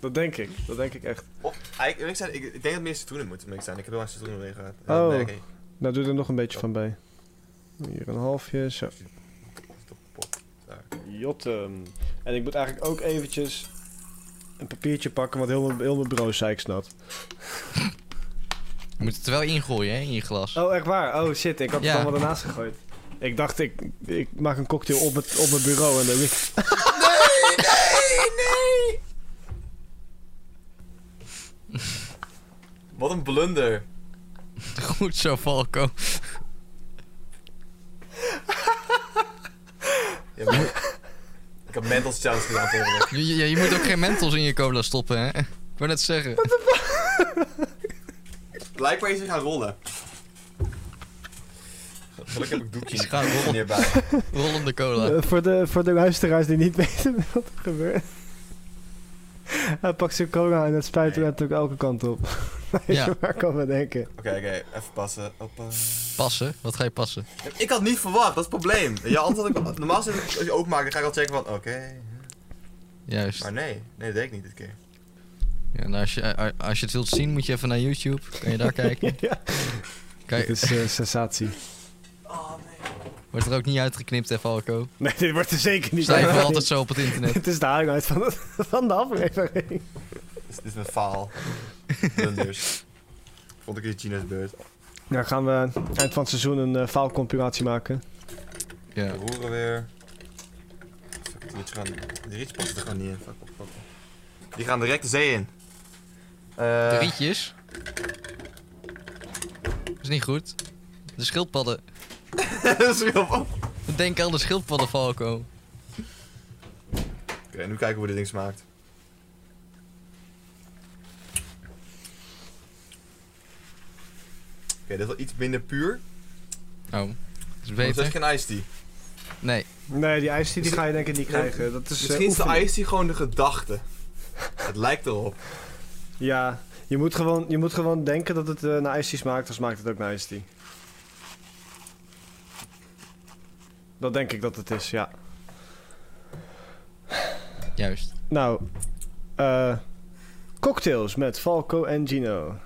A: Dat denk ik. Dat denk ik echt.
B: of, eigenlijk, ik, zijn, ik, ik denk dat meer citroenen moeten mee zijn. Ik heb heel weinig citroenen erin gehad.
A: Oh.
B: Nee, oké.
A: Nou, doe er nog een beetje van bij. Hier een halfje, zo. Jotten. ehm, En ik moet eigenlijk ook eventjes een papiertje pakken, want heel mijn, heel mijn bureau is zeiksnat.
C: Je moet het er wel ingooien, hè, in je glas.
A: Oh, echt waar? Oh shit, ik had
C: Ja.
A: het allemaal ernaast gegooid. Ik dacht, ik, ik maak een cocktail op, het, op mijn bureau en dan ligt...
B: Nee, nee, nee! Wat een blunder.
C: Goed zo, Falco.
B: Ja, maar- [LAUGHS] ik heb mental challenge gedaan tegenwoordig.
C: Je, je, je moet ook geen mentos in je cola stoppen, hè. Ik wou net zeggen.
B: Blijkbaar is hij gaan rollen. Gelukkig heb ik doekje
C: Is gaan rollen.
B: neerbij.
C: Rollende cola.
A: Eh, voor, de, voor de luisteraars die niet [LAUGHS] weten wat er gebeurt. Hij pakt zijn cola en dat spuit hem
B: Nee.
A: natuurlijk elke kant op. [LAUGHS]
C: Ja,
A: Waar kan we denken?
B: Oké, oké, even passen. Hoppa.
C: passen. Wat ga je passen?
B: Ik had niet verwacht, dat is het probleem. Ja, anders had ik, normaal als ik, als je openmaakt, dan ga ik al checken van oké.
C: Juist.
B: Maar nee, nee, dat deed ik niet dit keer.
C: Ja, nou, als, je, a- als je het wilt zien, moet je even naar YouTube. Kan je
A: [LAUGHS]
C: daar kijken.
A: ja, dit
C: Kijk,
A: is eh, sensatie.
B: Oh nee.
C: wordt er ook niet uitgeknipt, hè, Falco.
A: [LAUGHS] Nee, dit wordt er zeker niet.
C: Zij valt altijd zo op het
A: [LAUGHS]
C: internet.
A: Het is de highlight van de, van de aflevering.
B: Dit is, dit is mijn faal. Blunders. Vond ik in China's beurt.
A: Nou gaan we eind van het seizoen een eh, faalcompilatie maken.
B: De
C: Ja.
B: roeren weer. Fuck, die rietjes gaan, die rietjes passen er gewoon niet in. Fuck, fuck, fuck. Die gaan direct de zee in. Eh,
C: De rietjes. is niet goed. De schildpadden.
B: [LAUGHS] dat is heel Oké,
C: Denk aan de schildpadden, Falco.
B: nu kijken hoe dit ding smaakt. Oké, dit is wel iets minder puur.
C: Oh, is
B: Want het
C: beter.
B: is geen iced tea.
C: Nee,
A: Nee, die ijs die
B: Misschien-
A: ga je denk ik niet
B: Nee,
A: krijgen. Dat is, eh,
B: Misschien is de
A: oefening.
B: iced tea gewoon de gedachte. het lijkt erop.
A: Ja, je moet gewoon, je moet gewoon denken dat het eh, naar ijs smaakt, dan smaakt het ook naar ijs Dat denk ik dat het is, ja.
C: juist.
A: Nou, eh, cocktails met Falco en Gino.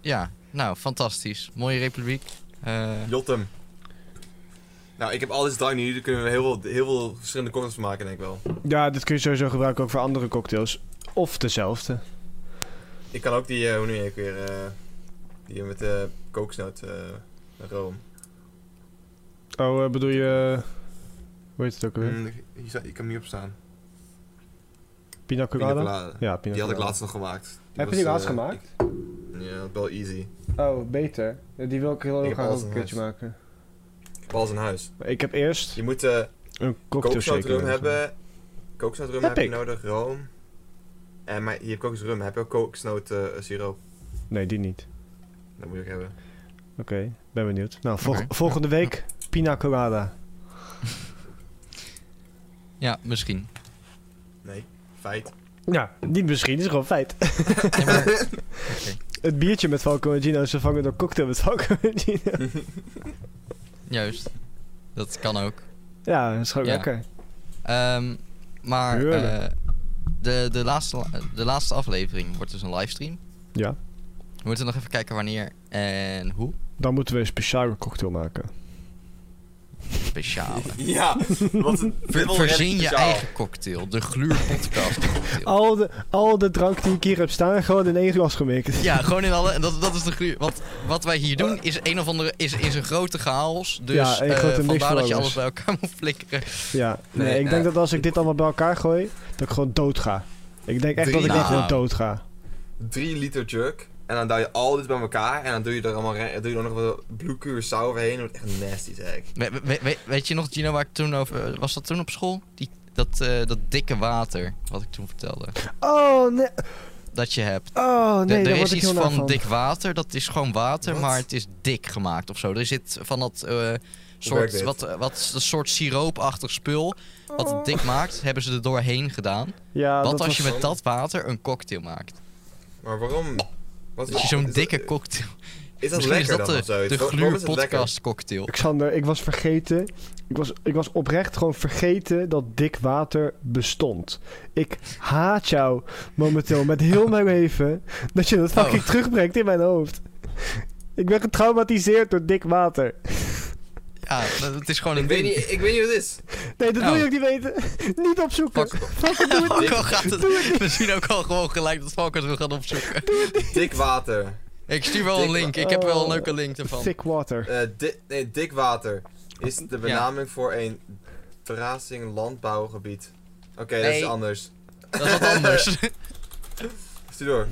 C: Ja, nou, fantastisch. Mooie republiek. Eh,
B: Jotem. Nou, ik heb al deze drank nu, daar kunnen we heel veel, heel veel verschillende cocktails van maken, denk ik wel.
A: Ja, dit kun je sowieso gebruiken ook voor andere cocktails. Of dezelfde.
B: Ik kan ook die, eh, hoe noem je ook weer, eh, die met de kokosnoot eh, room.
A: Oh, eh, bedoel je... eh, hoe heet het ook alweer?
B: Mm, ik- hier sta- ik kan hem niet op staan.
A: Pina
B: Pina
A: colada?
B: colada.
A: Ja, pina
B: Die had ik
A: colada.
B: laatst nog gemaakt.
A: Heb je
B: was,
A: die laatst
B: eh,
A: gemaakt?
B: ik- ja, wel easy.
A: Oh, beter. Ja, Die wil ik heel
B: Ik
A: erg
B: heb
A: graag
B: alles
A: ook een
B: in
A: keertje
B: huis.
A: maken.
B: Ik heb alles in huis.
A: Maar ik heb eerst
B: Je moet eh
A: een cocktail
B: kokosnoot
A: shaker.
B: rum hebben. Kokosnoot rum
A: Heb
B: heb je
A: ik.
B: nodig, room. En maar je hebt kokosnoot rum, heb je ook kokosnoot eh, siroop?
A: Nee, die niet.
B: Dat moet je ook hebben.
A: Oké, ben benieuwd. Nou, vol-
C: Oké.
A: volgende week pina colada.
C: ja, misschien.
B: Nee, feit.
A: Ja, niet misschien, het is gewoon feit. [LAUGHS]
C: Ja, maar,
A: Het biertje met Falco en Gino is vervangen door cocktail met Falco en Gino.
C: juist. Dat kan ook.
A: Ja, dat is gewoon
C: Ja.
A: lekker.
C: Ehm, maar
A: Heerlijk.
C: eh, de, de, laatste, de laatste aflevering wordt dus een livestream.
A: Ja.
C: We moeten nog even kijken wanneer en hoe.
A: Dan moeten we een speciale cocktail maken.
C: [LAUGHS] Speciale.
B: Ja, [LAUGHS] wat een
C: Ver-
B: wel
C: verzin je
B: speciaal.
C: eigen cocktail. De gluurpodcast cocktail.
A: Al de, al de drank die ik hier heb staan, gewoon in één glas gemikt.
C: Ja, gewoon in alle... Dat, dat is de gluur... Want wat wij hier doen is een of andere... Is, is een grote chaos. Dus
A: Ja, een
C: eh,
A: grote mix
C: vandaar
A: van
C: dat je
A: alles.
C: alles bij elkaar [LAUGHS] moet flikkeren.
A: Ja, nee,
C: Nee,
A: ik
C: eh,
A: denk dat als ik dit allemaal bij elkaar gooi, dat ik gewoon dood ga. Ik denk echt dat ik
B: Drie-
A: dan
C: Nou.
A: gewoon dood ga.
B: 3 liter jug. En dan duw je al dit bij elkaar. En dan doe je er allemaal re- doe je er nog wat blue curacao overheen. Dat wordt echt nasty, zeg ik.
C: We- we- we- weet je nog, Gino, waar ik toen over... Was dat toen op school? Die, dat, eh, dat dikke water, wat ik toen vertelde.
A: Oh nee,
C: Dat je hebt.
A: oh
C: De-
A: nee, daar
C: er
A: word ik
C: is iets
A: heel naar
C: van,
A: van.
C: dik water, dat is gewoon water,
B: Wat?
C: maar het is dik gemaakt of zo. Er zit van dat eh,
B: werkt
C: soort,
B: dit?
C: wat, eh, wat, een soort siroopachtig spul, wat
B: Oh.
C: het dik maakt, hebben ze er doorheen gedaan.
A: Ja,
C: wat
A: dat
C: als je
A: was-
C: met dat water een cocktail maakt?
B: Maar waarom? Wat
C: Dat je zo'n
B: is
C: dikke
B: dat-
C: cocktail...
B: Is dat
C: Misschien is
B: lekker
C: dat
B: dan of
C: de,
B: zoiets?
C: de
B: Wa- waarom is het lekker?
C: gluurpodcast cocktail.
A: Xander, ik was vergeten. Ik was, ik was oprecht gewoon vergeten dat dik water bestond. Ik haat jou momenteel met heel mijn leven. Dat je dat fucking
C: Oh.
A: terugbrengt in mijn hoofd. Ik ben getraumatiseerd door dik water.
C: Ja,
B: [LAUGHS]
C: dat, het is gewoon een
B: Ik weet,
C: [LAUGHS] ding.
B: niet, ik weet niet wat het is.
A: Nee, dat wil je
C: Oh.
A: ook niet weten. [LAUGHS] Niet opzoeken.
C: Fuck.
A: Fuck, doe het niet.
C: Falco gaat het [LAUGHS] misschien ook al gewoon gelijk dat Falco het wil gaan opzoeken.
B: Dik water.
C: Ik stuur wel
B: Dik
C: een link, ik heb wel een
A: Oh.
C: leuke link ervan.
A: Thick water.
B: Eh, di- nee, dik water is de benaming voor een terrasing landbouwgebied. Oké, dat is
C: Nee.
B: anders.
C: Dat is
B: [LAUGHS]
C: wat anders.
B: Stuur door.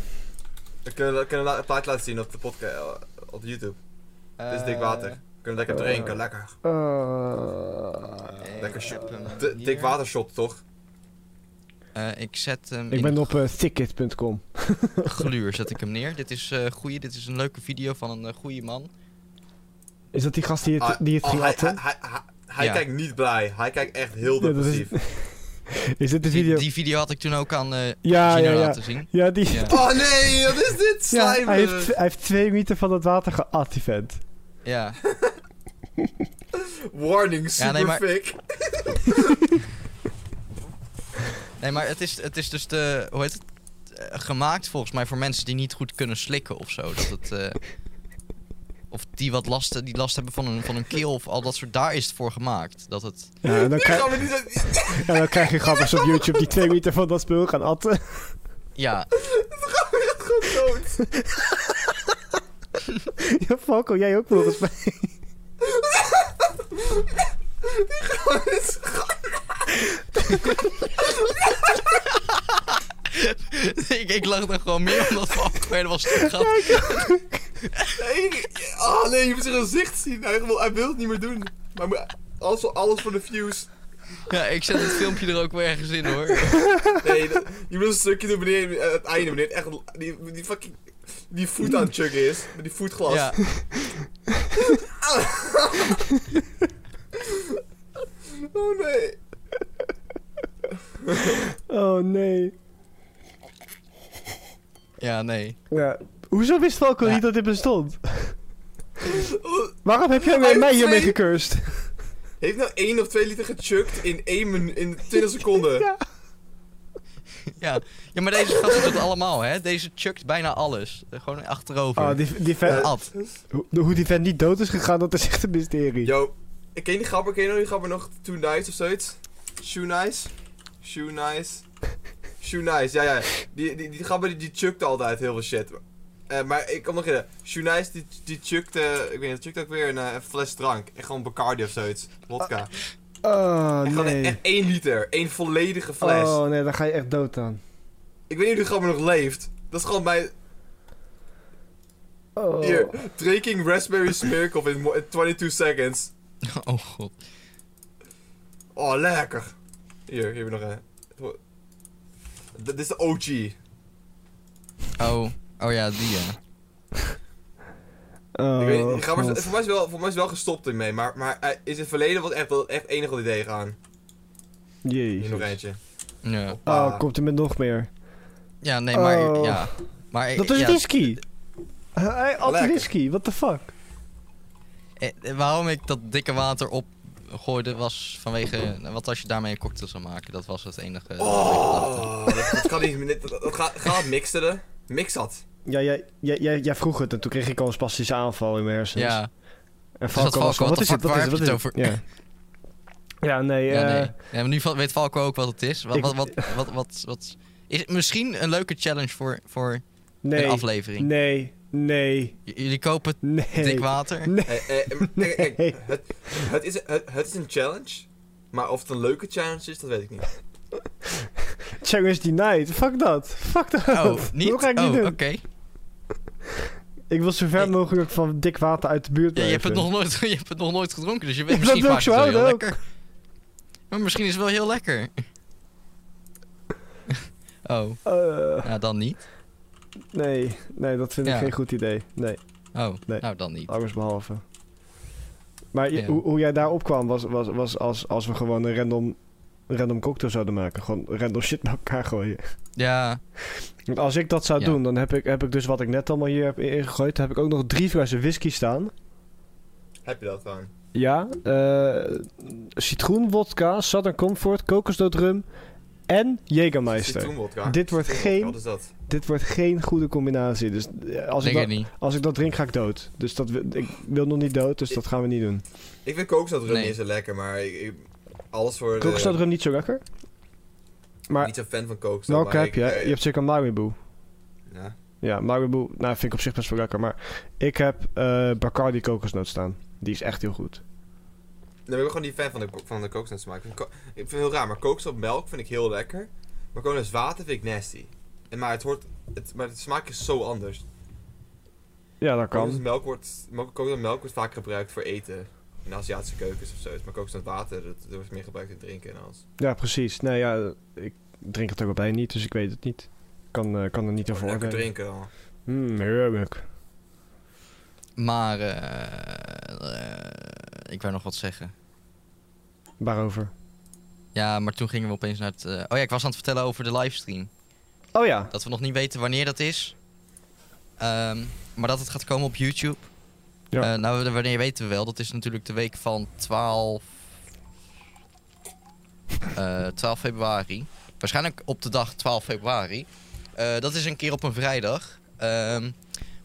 B: We kunnen, we kunnen la- het plaatje laten zien op de podcast, op YouTube. Dit is dik water. We kunnen lekker
A: eh,
B: drinken, lekker.
A: Eh,
C: Oh. Eh,
B: Lekker
C: ik
B: shot.
C: heb hem
B: D-
C: hier.
B: dik watershot, toch?
C: Eh, ik zet hem
A: ik
C: in
A: ben op eh, thicket.com.
C: de gluur, zet ik hem neer. Dit is eh goeie, dit is een leuke video van een eh, goeie man.
A: Is dat die gast die
C: Ah,
A: het, die het
B: Oh,
A: ging
B: hij, hij,
A: atten?
B: hij, hij- hij
C: Ja.
B: kijkt niet blij. Hij kijkt echt heel
A: Ja, dat is-
B: depressief.
A: [LAUGHS] Is dit de
C: Die,
A: video?
C: die video had ik toen ook aan eh
A: Ja,
C: Gino
A: ja, ja.
C: laten zien.
A: Ja, die...
C: Ja.
B: Oh nee, wat is dit?
A: Ja,
B: Slijmerig.
A: hij heeft, hij heeft twee meter van het water geat, die vent.
C: Ja,
B: Warning,
C: Ja,
B: super
C: nee, maar-
B: fik.
C: nee, maar het is, het is dus de, hoe heet het? Eh, gemaakt volgens mij voor mensen die niet goed kunnen slikken of zo. Dat het, eh, of die wat last, die last hebben van hun, van hun keel of al dat soort. Daar is het voor gemaakt. Dat het,
A: Ja, en dan,
B: Ik
A: krijg,
B: ga me niet... uit-
A: en dan krijg je grappers op YouTube die twee meter van dat spul gaan atten.
C: ja, [LAUGHS]
B: Dood.
A: [LAUGHS] Ja, Falco, jij ook volgens mij.
C: [LAUGHS] ik, ik lag er gewoon meer omdat Falco helemaal stuk had.
B: Nee, oh, Oh nee, je moet zijn gezicht zien. Hij wil, hij wil het niet meer doen. Maar hij moet- alles, alles voor de views.
C: Ja, ik zet het filmpje er ook wel ergens in hoor.
A: [LAUGHS]
B: Nee, dat- je moet een stukje doen beneden, eh, het einde beneden. Echt, die, die fucking, die voet aan het chuggen is. Met die voetglas.
C: Ja.
B: Oh nee.
A: Oh nee.
C: ja, nee.
A: Ja. Hoezo wist Falco
C: Ja.
A: niet dat dit bestond? [LAUGHS]
B: Oh,
A: Waarom heb jij
B: Hij
A: mij, mij
B: heeft
A: hiermee
B: twee-
A: gecurst?
B: Heeft nou 1 of 2 liter gechugged in 1 minu- in 20 seconden?
A: Ja.
C: Ja. ja, maar deze gast doet het allemaal, hè? Deze chuckt bijna alles. Eh, Gewoon achterover.
A: Oh, die, die vent,
B: Eh,
C: Ad.
A: hoe, hoe die vent niet dood is gegaan, dat is echt een mysterie.
B: Yo, ik ken die grapper, ken je nog die grapper nog? Too nice of zoiets? Shoe nice? Shoe nice? Shoe nice, ja ja. Die, die, die grapper die, die chuckte altijd heel veel shit. Eh, maar ik kom nog in. Shoe nice die, die chuckte, ik weet niet, chuckte ook weer een, eh, een fles drank. Echt gewoon Bacardi of zoiets. Wodka.
A: Oh
B: Echt gewoon
A: Ah, nee.
B: echt 1 liter. één volledige fles.
A: Oh nee, daar ga je echt dood aan.
B: Ik weet niet of die grapper nog leeft. Dat is gewoon mijn...
A: Oh.
B: Hier, drinking raspberry smearkoff in mo- in 22 seconds.
C: [LAUGHS] Oh god.
B: Oh, lekker. Hier, hier heb je nog een. D- Dit is de OG.
C: Oh. Oh ja, die ja.
A: Oh,
B: ik weet, niet, ga maar,
A: God.
B: voor, mij is wel, voor mij is wel gestopt ermee, maar, maar eh, is in het verleden wat echt, wat echt enige wat idee gaan. Hier nog
A: Jezus.
B: eentje.
C: Ja,
A: Oh,
B: Ah.
A: komt er met nog meer.
C: ja nee, maar...
A: Oh.
C: Ja. Maar,
A: Dat is
C: ja,
A: whisky. Hij at
B: Lekker.
A: whisky, what the fuck?
C: eh, eh, Waarom ik dat dikke water opgooide was vanwege... eh, Wat als je daarmee een cocktail zou maken? Dat was het enige... eh,
B: Oh, dat, dat kan niet. dit- Dat, dat gaat, gaat mixen, de. Mix dat.
A: Ja, jij, jij, jij, jij vroeg het en toen kreeg ik al een spastische aanval in mijn hersens.
C: Ja.
A: En
C: Falco,
A: was van,
C: what
A: wat
C: the
A: is het?
C: fuck,
A: Wat is
C: waar
A: het? Wat
C: heb
A: is
C: je
A: het?
C: het
A: Ja. Ja, nee.
C: [LAUGHS] Ja,
A: eh,
C: nee. Ja, maar nu val- weet Falco ook wat het is. Wat,
A: Ik-
C: wat, wat, wat, wat, wat- is het misschien een leuke challenge voor, voor
A: nee.
C: een aflevering?
A: Nee, nee,
C: J- jullie kopen
A: nee.
C: dik water.
A: Nee.
B: Hey, eh, eh, maar kijk, kijk,
A: Nee.
B: het, het, is, het, het is een challenge, maar of het een leuke challenge is, dat weet ik niet.
A: Challenge denied. Fuck dat. Fuck dat.
C: Oh, niet?
A: Dat ga ik
C: oh,
A: niet doen.
C: oké.
A: Ik wil zo ver
C: Ik-
A: mogelijk van dik water uit de buurt
C: Ja, je, hebt het
A: blijven.
C: nog nooit, je hebt het nog nooit gedronken, dus je weet
A: Ja, dat
C: misschien
A: wil ik
C: maakt
A: zo
C: het wel heel
A: houden
C: lekker. Maar misschien is het wel heel
A: [LAUGHS]
C: lekker. oh,
A: Eh,
C: nou dan niet.
A: nee, nee, dat vind
C: Ja.
A: ik geen goed idee. Nee,
C: Oh,
A: Nee.
C: nou dan niet.
A: alles behalve. Maar je-
C: Ja.
A: hoe, hoe jij daar opkwam was, was, was als, als we gewoon een random, random cocktail zouden maken. Gewoon random shit met elkaar gooien.
C: Ja,
A: Want als ik dat zou
C: Ja.
A: doen, dan heb ik, heb ik dus wat ik net allemaal hier heb ingegooid. Dan heb ik ook nog drie flessen whisky staan.
B: Heb je dat dan?
A: Ja, eh citroen, wodka, Southern Comfort, kokosnootrum en Jägermeister.
B: Citroenwodka.
A: Dit wordt
B: Citroenwodka,
A: geen-
B: Wat is dat?
A: Dit wordt geen goede combinatie. Dus eh, als ik,
C: denk
A: dat,
C: ik niet.
A: als ik dat drink, ga ik dood. Dus dat, wil- ik wil nog niet dood, dus dat gaan we niet doen.
B: Ik vind kokosnootrum
C: Nee.
B: niet zo lekker, maar ik, ik- alles voor de...
A: Kokosnootrum niet zo lekker. Maar
B: niet zo'n fan van Coke. zo,
A: welke
B: maar
A: heb
B: ik-
A: je?
B: eh,
A: Je hebt zeker Maribu.
B: ja.
A: Ja, Maribu, nou vind ik op zich best wel lekker. Maar ik heb eh, Bacardi kokosnoot staan. Die is echt heel goed.
B: Nee, maar ik ben gewoon niet fan van de, ko- van de kokosnotsmaak. Ik vind, ko- ik vind het heel raar, maar kokosnootmelk vind ik heel lekker. Maar kokosnotswater vind ik nasty. En maar het hoort... Het, maar de smaak is zo anders.
A: Ja, dat kan.
B: Kokosnootmelk wordt, mo- kokosnootmelk wordt vaak gebruikt voor eten. In Aziatische keukens of zo. Maar kokosnootwater, dat, dat wordt meer gebruikt in drinken en alles.
A: Ja, precies. Nou ja, ik drink het ook al bij niet, dus ik weet het niet. Ik kan, eh, kan er niet over
B: Gewoon lekker
A: oordelen.
B: drinken dan.
A: Mm, heerlijk.
C: Maar, eh, eh, ik wou nog wat zeggen.
A: Waarover?
C: Ja, maar toen gingen we opeens naar het... eh, Oh ja, ik was aan het vertellen over de livestream.
A: Oh ja.
C: Dat we nog niet weten wanneer dat is. Ehm, maar dat het gaat komen op YouTube.
A: Ja.
C: Eh, nou, w- wanneer weten we wel. Dat is natuurlijk de week van 12... eh, 12 februari. Waarschijnlijk op de dag 12 februari. Eh, dat is een keer op een vrijdag. Ehm,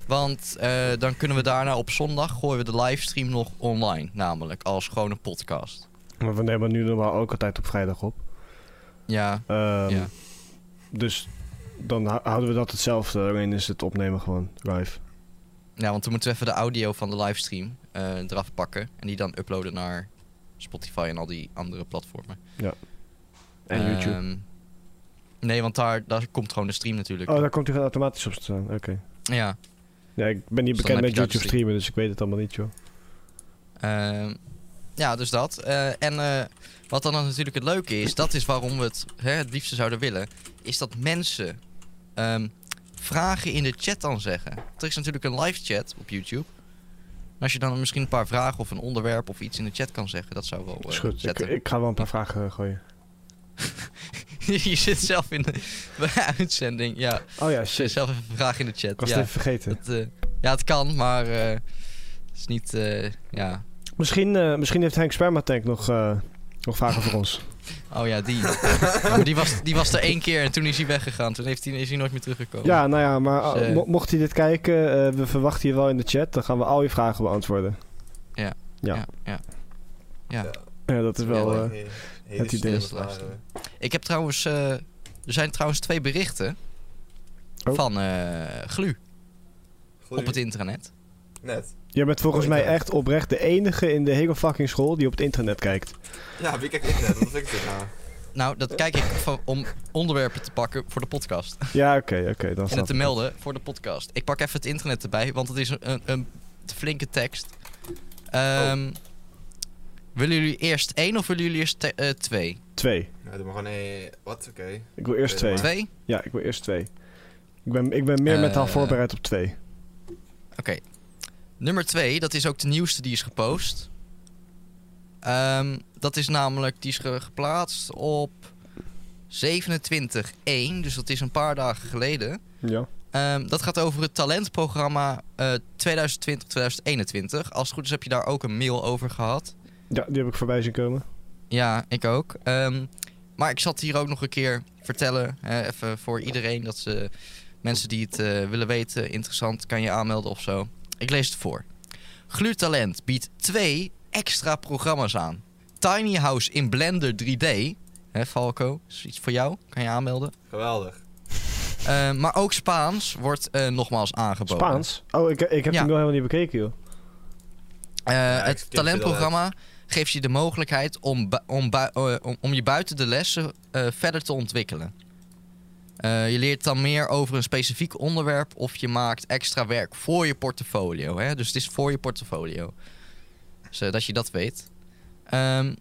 C: want eh, dan kunnen we daarna op zondag... gooien we de livestream nog online. Namelijk als gewoon een podcast.
A: Maar we nemen nu normaal ook altijd op vrijdag op.
C: Ja,
A: Ehm,
C: Ja.
A: Dus dan hou- houden we dat hetzelfde. Alleen is het opnemen gewoon live.
C: Ja, want dan moeten we even de audio van de livestream eh, eraf pakken. En die dan uploaden naar Spotify en al die andere platformen.
A: En YouTube.
C: Ehm, nee, want daar, daar komt gewoon de stream natuurlijk.
A: Oh, daar komt hij gewoon automatisch op te staan. Oké.
C: Ja.
A: Ja, ik ben niet
C: Dus dan
A: bekend
C: heb
A: met
C: je dat
A: YouTube
C: dus
A: streamen, dus ik weet het allemaal niet, joh.
C: Ehm, ja, dus dat. Eh, en eh, wat dan natuurlijk het leuke is, dat is waarom we het hè, het liefste zouden willen, is dat mensen ehm, vragen in de chat dan zeggen. Er is natuurlijk een live chat op YouTube. En als je dan misschien een paar vragen of een onderwerp of iets in de chat kan zeggen, dat zou wel. eh,
A: Is goed, ik,
C: zetten.
A: ik ga wel een paar vragen eh, gooien.
C: [LAUGHS] je zit zelf in de, bij de [LAUGHS] uitzending. Ja,
A: Oh
C: [LAUGHS]
A: ja,
C: zet
A: shit.
C: zelf even een vraag in de
A: Ik
C: chat.
A: was
C: Ja,
A: het even vergeten.
C: dat, eh, ja, het kan, maar eh, het is niet. eh, ja.
A: Misschien, eh, misschien heeft Henk Spermatank nog, eh, nog vragen voor ons.
C: Oh
A: [LAUGHS]
C: ja, die. maar die was, die was er één keer en toen is hij weggegaan. Toen heeft hij, is hij nooit meer teruggekomen.
A: Ja, nou ja, maar
C: Dus,
A: eh,
C: eh,
A: mo- mocht hij dit kijken, eh, we verwachten je wel in de chat. Dan gaan we al je vragen beantwoorden.
C: Ja.
A: Ja,
C: ja, ja. Ja.
A: Ja, dat is wel...
C: Ja,
A: eh,
B: he- hele
A: het idee.
B: slimme verhalen.
C: Ik heb trouwens. eh, er zijn trouwens twee berichten.
A: Oh.
C: Van eh, Glu
B: Goed
C: op het
B: idee.
C: intranet.
B: Net.
A: jij bent volgens
B: Oh,
A: mij
B: ja.
A: echt oprecht de enige in de hele fucking school die op het internet kijkt.
B: Ja, wie kijkt internet? Wat vind ik dit nou?
C: Nou, dat kijk ik van, om onderwerpen te pakken voor de podcast.
A: Ja, oké, oké. dan
C: en
A: snap
C: het te
A: ik het.
C: melden voor de podcast. Ik pak even het internet erbij, want het is een, een, een flinke tekst. Ehm, Willen jullie eerst één of willen jullie eerst te- eh, twee?
A: Twee.
B: Ja, doe maar gewoon eh Wat? Oké.
A: Ik wil eerst
B: Weet
A: twee.
B: het
C: Twee?
A: Ja, ik wil eerst twee. Ik ben, ik ben meer mentaal
C: Eh.
A: voorbereid op twee.
C: Oké. Nummer 2, dat is ook de nieuwste die is gepost. Ehm, dat is namelijk, die is ge- geplaatst op 27-1, dus dat is een paar dagen geleden.
A: Ja.
C: Ehm, dat gaat over het talentprogramma eh, 2020-2021. Als het goed is heb je daar ook een mail over gehad.
A: Ja, die heb ik voorbij zien komen.
C: Ja, ik ook. Ehm, maar ik zat hier ook nog een keer vertellen, hè, even voor iedereen, dat ze mensen die het eh, willen weten, interessant, kan je aanmelden of zo. Ik lees het voor. Gluurtalent biedt twee extra programma's aan. Tiny House in Blender 3D, hè, Falco, is iets voor jou, kan je aanmelden.
B: Geweldig.
C: Ehm, maar ook Spaans wordt eh, nogmaals aangeboden.
A: Spaans? Oh, ik, ik heb
C: Ja.
A: hem wel helemaal niet bekeken, joh.
C: Eh,
B: ik
C: het
B: skip je
C: talentprogramma geeft je de mogelijkheid om, bu- om, bui- eh, om, om je buiten de lessen eh, verder te ontwikkelen. Eh, je leert dan meer over een specifiek onderwerp of je maakt extra werk voor je portfolio. Hè? Dus het is voor je portfolio. Dus, eh, dat je dat weet. Ehm,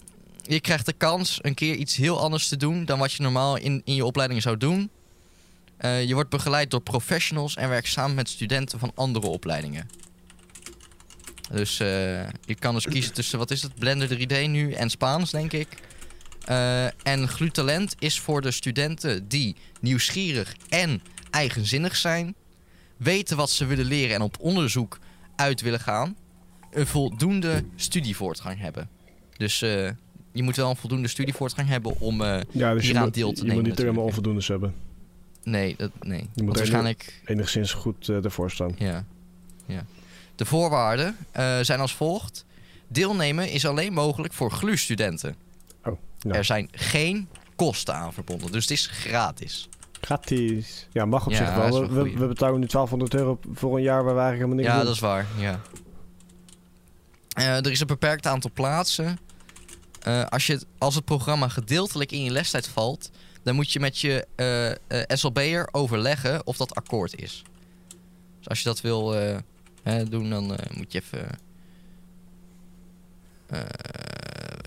C: je krijgt de kans een keer iets heel anders te doen dan wat je normaal in, in je opleiding zou doen. Eh, je wordt begeleid door professionals en werkt samen met studenten van andere opleidingen. Dus eh, je kan dus kiezen tussen, wat is het, Blender 3D nu en Spaans, denk ik. Eh, en glutalent is voor de studenten die nieuwsgierig en eigenzinnig zijn, weten wat ze willen leren en op onderzoek uit willen gaan, een voldoende studievoortgang hebben. Dus eh, je moet wel een voldoende studievoortgang hebben om. eh,
A: Ja, dus je
C: Hieraan
A: moet,
C: deel te
A: je moet
C: nemen
A: niet helemaal
C: natuurlijk.
A: onvoldoendes hebben.
C: nee, dat, nee.
A: moet
C: Want
A: er-
C: waarschijnlijk.
A: Enigszins goed eh, ervoor staan.
C: Ja. ja. De voorwaarden eh, zijn als volgt. Deelnemen is alleen mogelijk voor GLU-studenten.
A: Oh, nou.
C: Er zijn geen kosten aan verbonden, dus het is gratis.
A: Gratis. Ja, mag op
C: Ja,
A: zich
C: dat is
A: wel.
C: wel
A: We, we,
C: goeie.
A: we betalen nu 1200 euro voor een jaar waar we eigenlijk helemaal niks
C: ja,
A: doen.
C: dat is waar. Ja. Eh, er is een beperkt aantal plaatsen. Eh, als, je het, als het programma gedeeltelijk in je lestijd valt, dan moet je met je eh, eh, SLB'er overleggen of dat akkoord is. Dus als je dat wil eh, hè, doen, dan eh, moet je even. eh,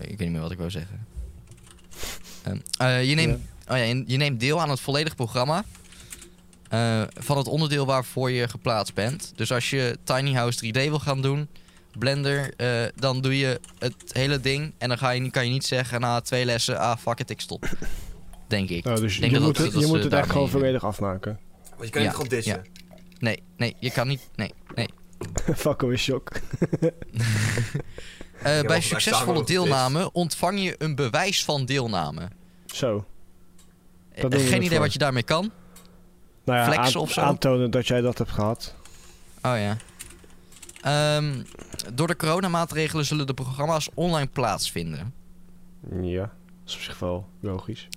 C: ik weet niet meer wat ik wou zeggen. Ehm, eh, je, neemt, oh ja, je- je neemt deel aan het volledige programma. eh, van het onderdeel waarvoor je geplaatst bent. Dus als je Tiny House 3D wil gaan doen, Blender, eh, dan doe je het hele ding. En dan ga je, niet- kan je niet zeggen na twee lessen, ah fuck it, ik stop. Denk ik.
A: Oh, dus je
C: denk dat
A: moet
C: dat-
A: het,
C: dat
A: je
C: ze
A: moet het echt
C: daarmee-
A: gewoon volledig [LAUGHS] afmaken.
B: Want je kan
C: Ja,
B: niet gewoon ditchen.
C: Nee, nee, je kan niet. Nee.
A: Fucko oh, is shock.
C: Eh,
B: heb
C: bij
B: altijd examen
C: succesvolle
B: over dit.
C: deelname ontvang je een bewijs van deelname.
A: Zo.
C: Eh,
A: doen we
C: geen
A: het
C: idee
A: voor.
C: wat je daarmee kan.
A: Nou ja,
C: Flexen
A: aan-
C: of zo?
A: aantonen dat jij dat hebt gehad.
C: Oh ja. Ehm, door de coronamaatregelen zullen de programma's online plaatsvinden.
A: Ja, dat is op zich wel logisch.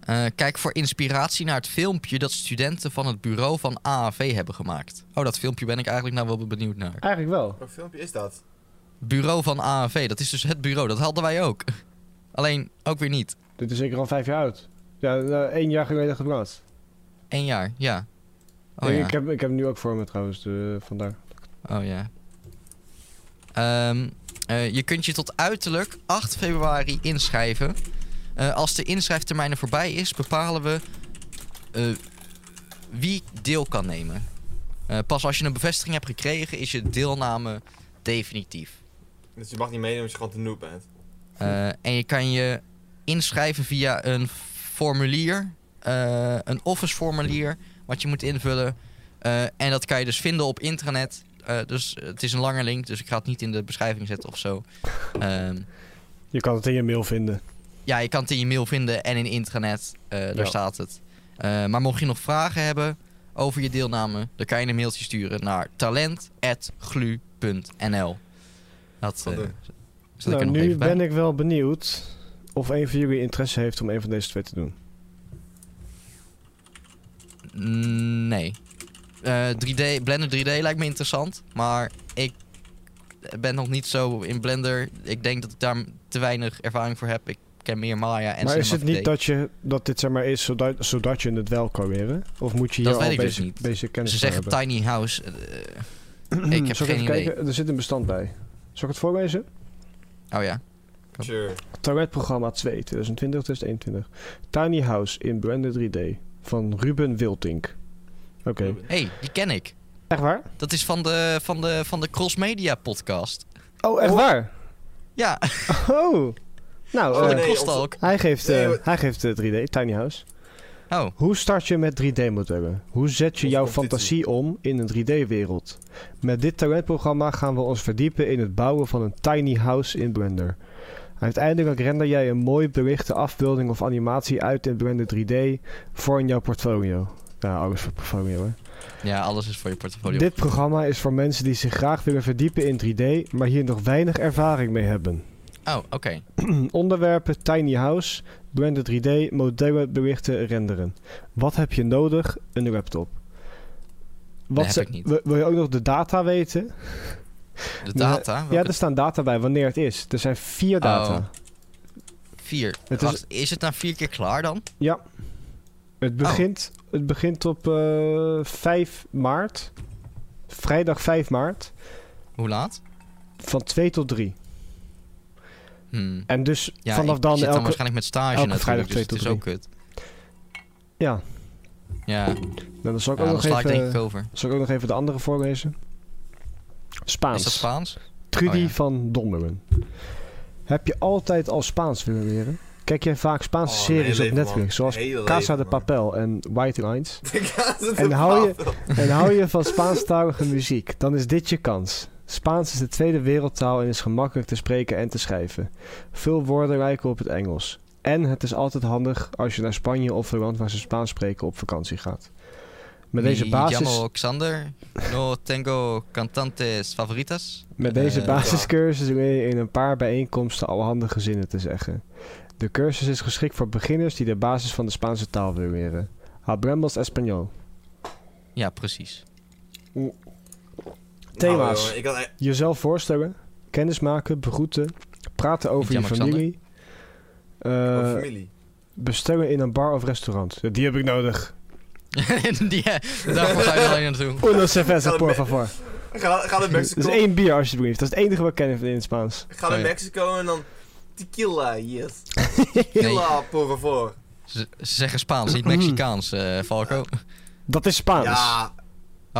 C: Eh, kijk voor inspiratie naar het filmpje dat studenten van het bureau van AAV hebben gemaakt. Oh, dat filmpje ben ik eigenlijk nou wel benieuwd naar.
A: Eigenlijk wel.
B: Wat filmpje is dat?
C: Bureau van AAV, dat is dus het bureau. Dat hadden wij ook. [LAUGHS] Alleen ook weer niet.
A: Dit is zeker al vijf jaar oud. Ja, nou, één jaar geleden geplaatst.
C: Eén jaar, ja. Oh
A: ik,
C: ja.
A: ik heb, ik heb hem nu ook voor me trouwens, eh, de, vandaar.
C: Oh ja. Ehm, eh, je kunt je tot uiterlijk 8 februari inschrijven. Eh, als de inschrijftermijn er voorbij is, bepalen we eh, wie deel kan nemen. Eh, pas als je een bevestiging hebt gekregen, is je deelname definitief.
B: Dus je mag niet meedoen als je gewoon te noob bent.
C: Eh, en je kan je inschrijven via een formulier, eh, een office formulier, wat je moet invullen. Eh, en dat kan je dus vinden op intranet. Eh, dus het is een lange link, dus ik ga het niet in de beschrijving zetten of zo. Ehm,
A: Je kan het in je mail vinden.
C: ja, je kan het in je mail vinden en in intranet. eh, daar
A: Ja.
C: staat het. Eh, maar mocht je nog vragen hebben over je deelname, dan kan je een mailtje sturen naar talent.glu.nl. Dat eh,
B: Wat doen?
C: zet ik
A: Nou,
C: er nog
A: nu
C: even bij.
A: ben ik wel benieuwd of een van jullie interesse heeft om een van deze twee te doen.
C: Mm, Nee. Eh, 3D, Blender 3D lijkt me interessant, maar ik ben nog niet zo in Blender. Ik denk dat ik daar te weinig ervaring voor heb. Ik ken meer Maya en
A: maar is het
C: Cinema
A: niet
C: 4D.
A: dat, je, dat dit zeg maar is zodat, zodat je het wel kan leren? Of moet je hier
C: Dat
A: al
C: weet ik dus
A: basic,
C: niet.
A: basic kennis
C: Ze
A: van
C: zeggen
A: hebben?
C: tiny house. eh, [CLEARS THROAT] ik heb
A: Zal ik
C: geen
A: even
C: idee.
A: kijken? Er zit een bestand bij. Zal ik het voorlezen?
C: oh ja. Kan.
B: Sure.
A: Tarotprogramma 2, 2020-2021. Tiny House in Blender 3D van Ruben Wiltink. Oké.
B: Oh,
C: hey, die ken ik.
A: Echt waar?
C: Dat is van de, van de, van de Cross Media podcast.
A: Oh, echt waar?
C: Ja,
A: Oh.
C: [LAUGHS]
A: Nou,
B: Oh,
A: eh,
B: nee,
C: Crosstalk.
A: hij geeft, eh,
B: Nee, hoor.
A: hij geeft eh, 3D, Tiny House.
C: Oh,
A: Hoe start je met 3D-modellen? Hoe zet je
B: Onze
A: jouw
B: competitie.
A: fantasie om in een 3D-wereld? Met dit talentprogramma gaan we ons verdiepen in het bouwen van een tiny house in Blender. Uiteindelijk render jij een mooi belichte afbeelding of animatie uit in Blender 3D voor in jouw portfolio. Ja, alles voor portfolio, hè.
C: ja, alles is voor je portfolio.
A: Dit programma is voor mensen die zich graag willen verdiepen in 3D, maar hier nog weinig ervaring mee hebben.
C: Oh, oké.
A: Onderwerpen Tiny House, Blender 3D, modellen, berichten, renderen. Wat heb je nodig? Een laptop.
C: heb
A: ze-
C: ik niet.
A: Wil, wil je ook nog de data weten?
C: De data. welke
A: Ja, er staan data bij wanneer het is. Er zijn vier data.
C: Oh. Vier.
A: Het is-
C: Wacht, is... het na vier keer klaar dan? Oh.
A: Het, begint, het begint op eh, 5 maart. Vrijdag 5 maart.
C: Hoe laat?
A: Van 2 tot 3.
C: Hmm.
A: En dus
C: Ja,
A: vanaf
C: ik
A: dan
C: zit dan
A: elke...
C: waarschijnlijk met stage
A: elke
C: natuurlijk,
A: vrijdag
C: dus het is
A: twee
C: ook
A: tot
C: kut.
A: Ja, nou,
C: Ja,
A: dan zal ik
C: ja
A: ook
C: dan
A: nog
C: sla ik
A: even...
C: denk ik over.
A: Zal ik ook nog even de andere voorlezen? Spaans.
C: Is dat Spaans?
A: Trudy
C: Oh, ja.
A: van Donderen. Heb je altijd al Spaans willen leren? Kijk jij vaak
C: Oh,
A: Spaanse series op Netflix, zoals Casa de
B: [LAUGHS]
A: Papel en White Lines? En
B: en
A: hou
B: hou
A: je- en hou je van Spaanstalige muziek, dan is dit je kans. Spaans is de tweede wereldtaal en is gemakkelijk te spreken en te schrijven. Veel woorden lijken op het Engels. En het is altijd handig als je naar Spanje of een land waar ze Spaans spreken op vakantie gaat. Met deze
C: Mi
A: basis...
C: Llamo Xander. No tengo cantantes favoritas.
A: Met deze
C: Eh,
A: basiscursus leer je in een paar bijeenkomsten al handige zinnen te zeggen. De cursus is geschikt voor beginners die de basis van de Spaanse taal willen leren. Hablemos español.
C: Ja, precies.
A: [LAUGHS]
C: [LAUGHS]
A: Thema's.
B: Oh, ik had, echt-
A: Jezelf voorstellen, kennismaken, begroeten, praten over
C: Niet
A: je
C: jammer,
A: familie,
B: oh,
A: eh,
B: familie.
A: bestellen in een bar of restaurant. Ja, Die heb ik
B: [LAUGHS]
A: nodig.
C: Die, daarvoor
A: [LAUGHS]
C: ga je alleen naartoe.
A: Uno cerveza,
B: Kan
A: por
B: me-
A: favor.
B: Ga,
A: [LAUGHS]
B: ga naar
A: Dat is
B: Mexico.
A: één bier alsjeblieft. Dat is het enige wat ik ken in het Spaans.
B: Ga naar
C: Oh, ja.
B: Mexico en dan tequila,
A: [LAUGHS]
B: yes. Tequila, por favor.
C: Ze, ze zeggen Spaans, niet Mexicaans, eh Falco.
A: Dat is Spaans.
B: Ja,
A: dus-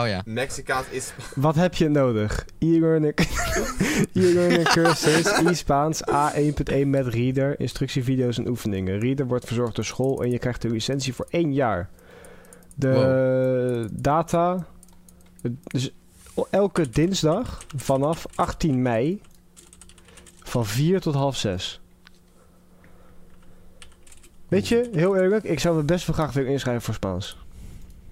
C: Oh ja.
B: Mexicaans is
A: Wat heb je nodig? E-learning [LAUGHS] e-learning cursus, e-Spaans, A1.1 met reader, instructievideo's en oefeningen. Reader wordt verzorgd door school en je krijgt de licentie voor één jaar. De data... Dus elke dinsdag vanaf 18 mei van 4 tot half 6. Weet je, heel eerlijk, ik zou me best wel graag willen inschrijven voor Spaans.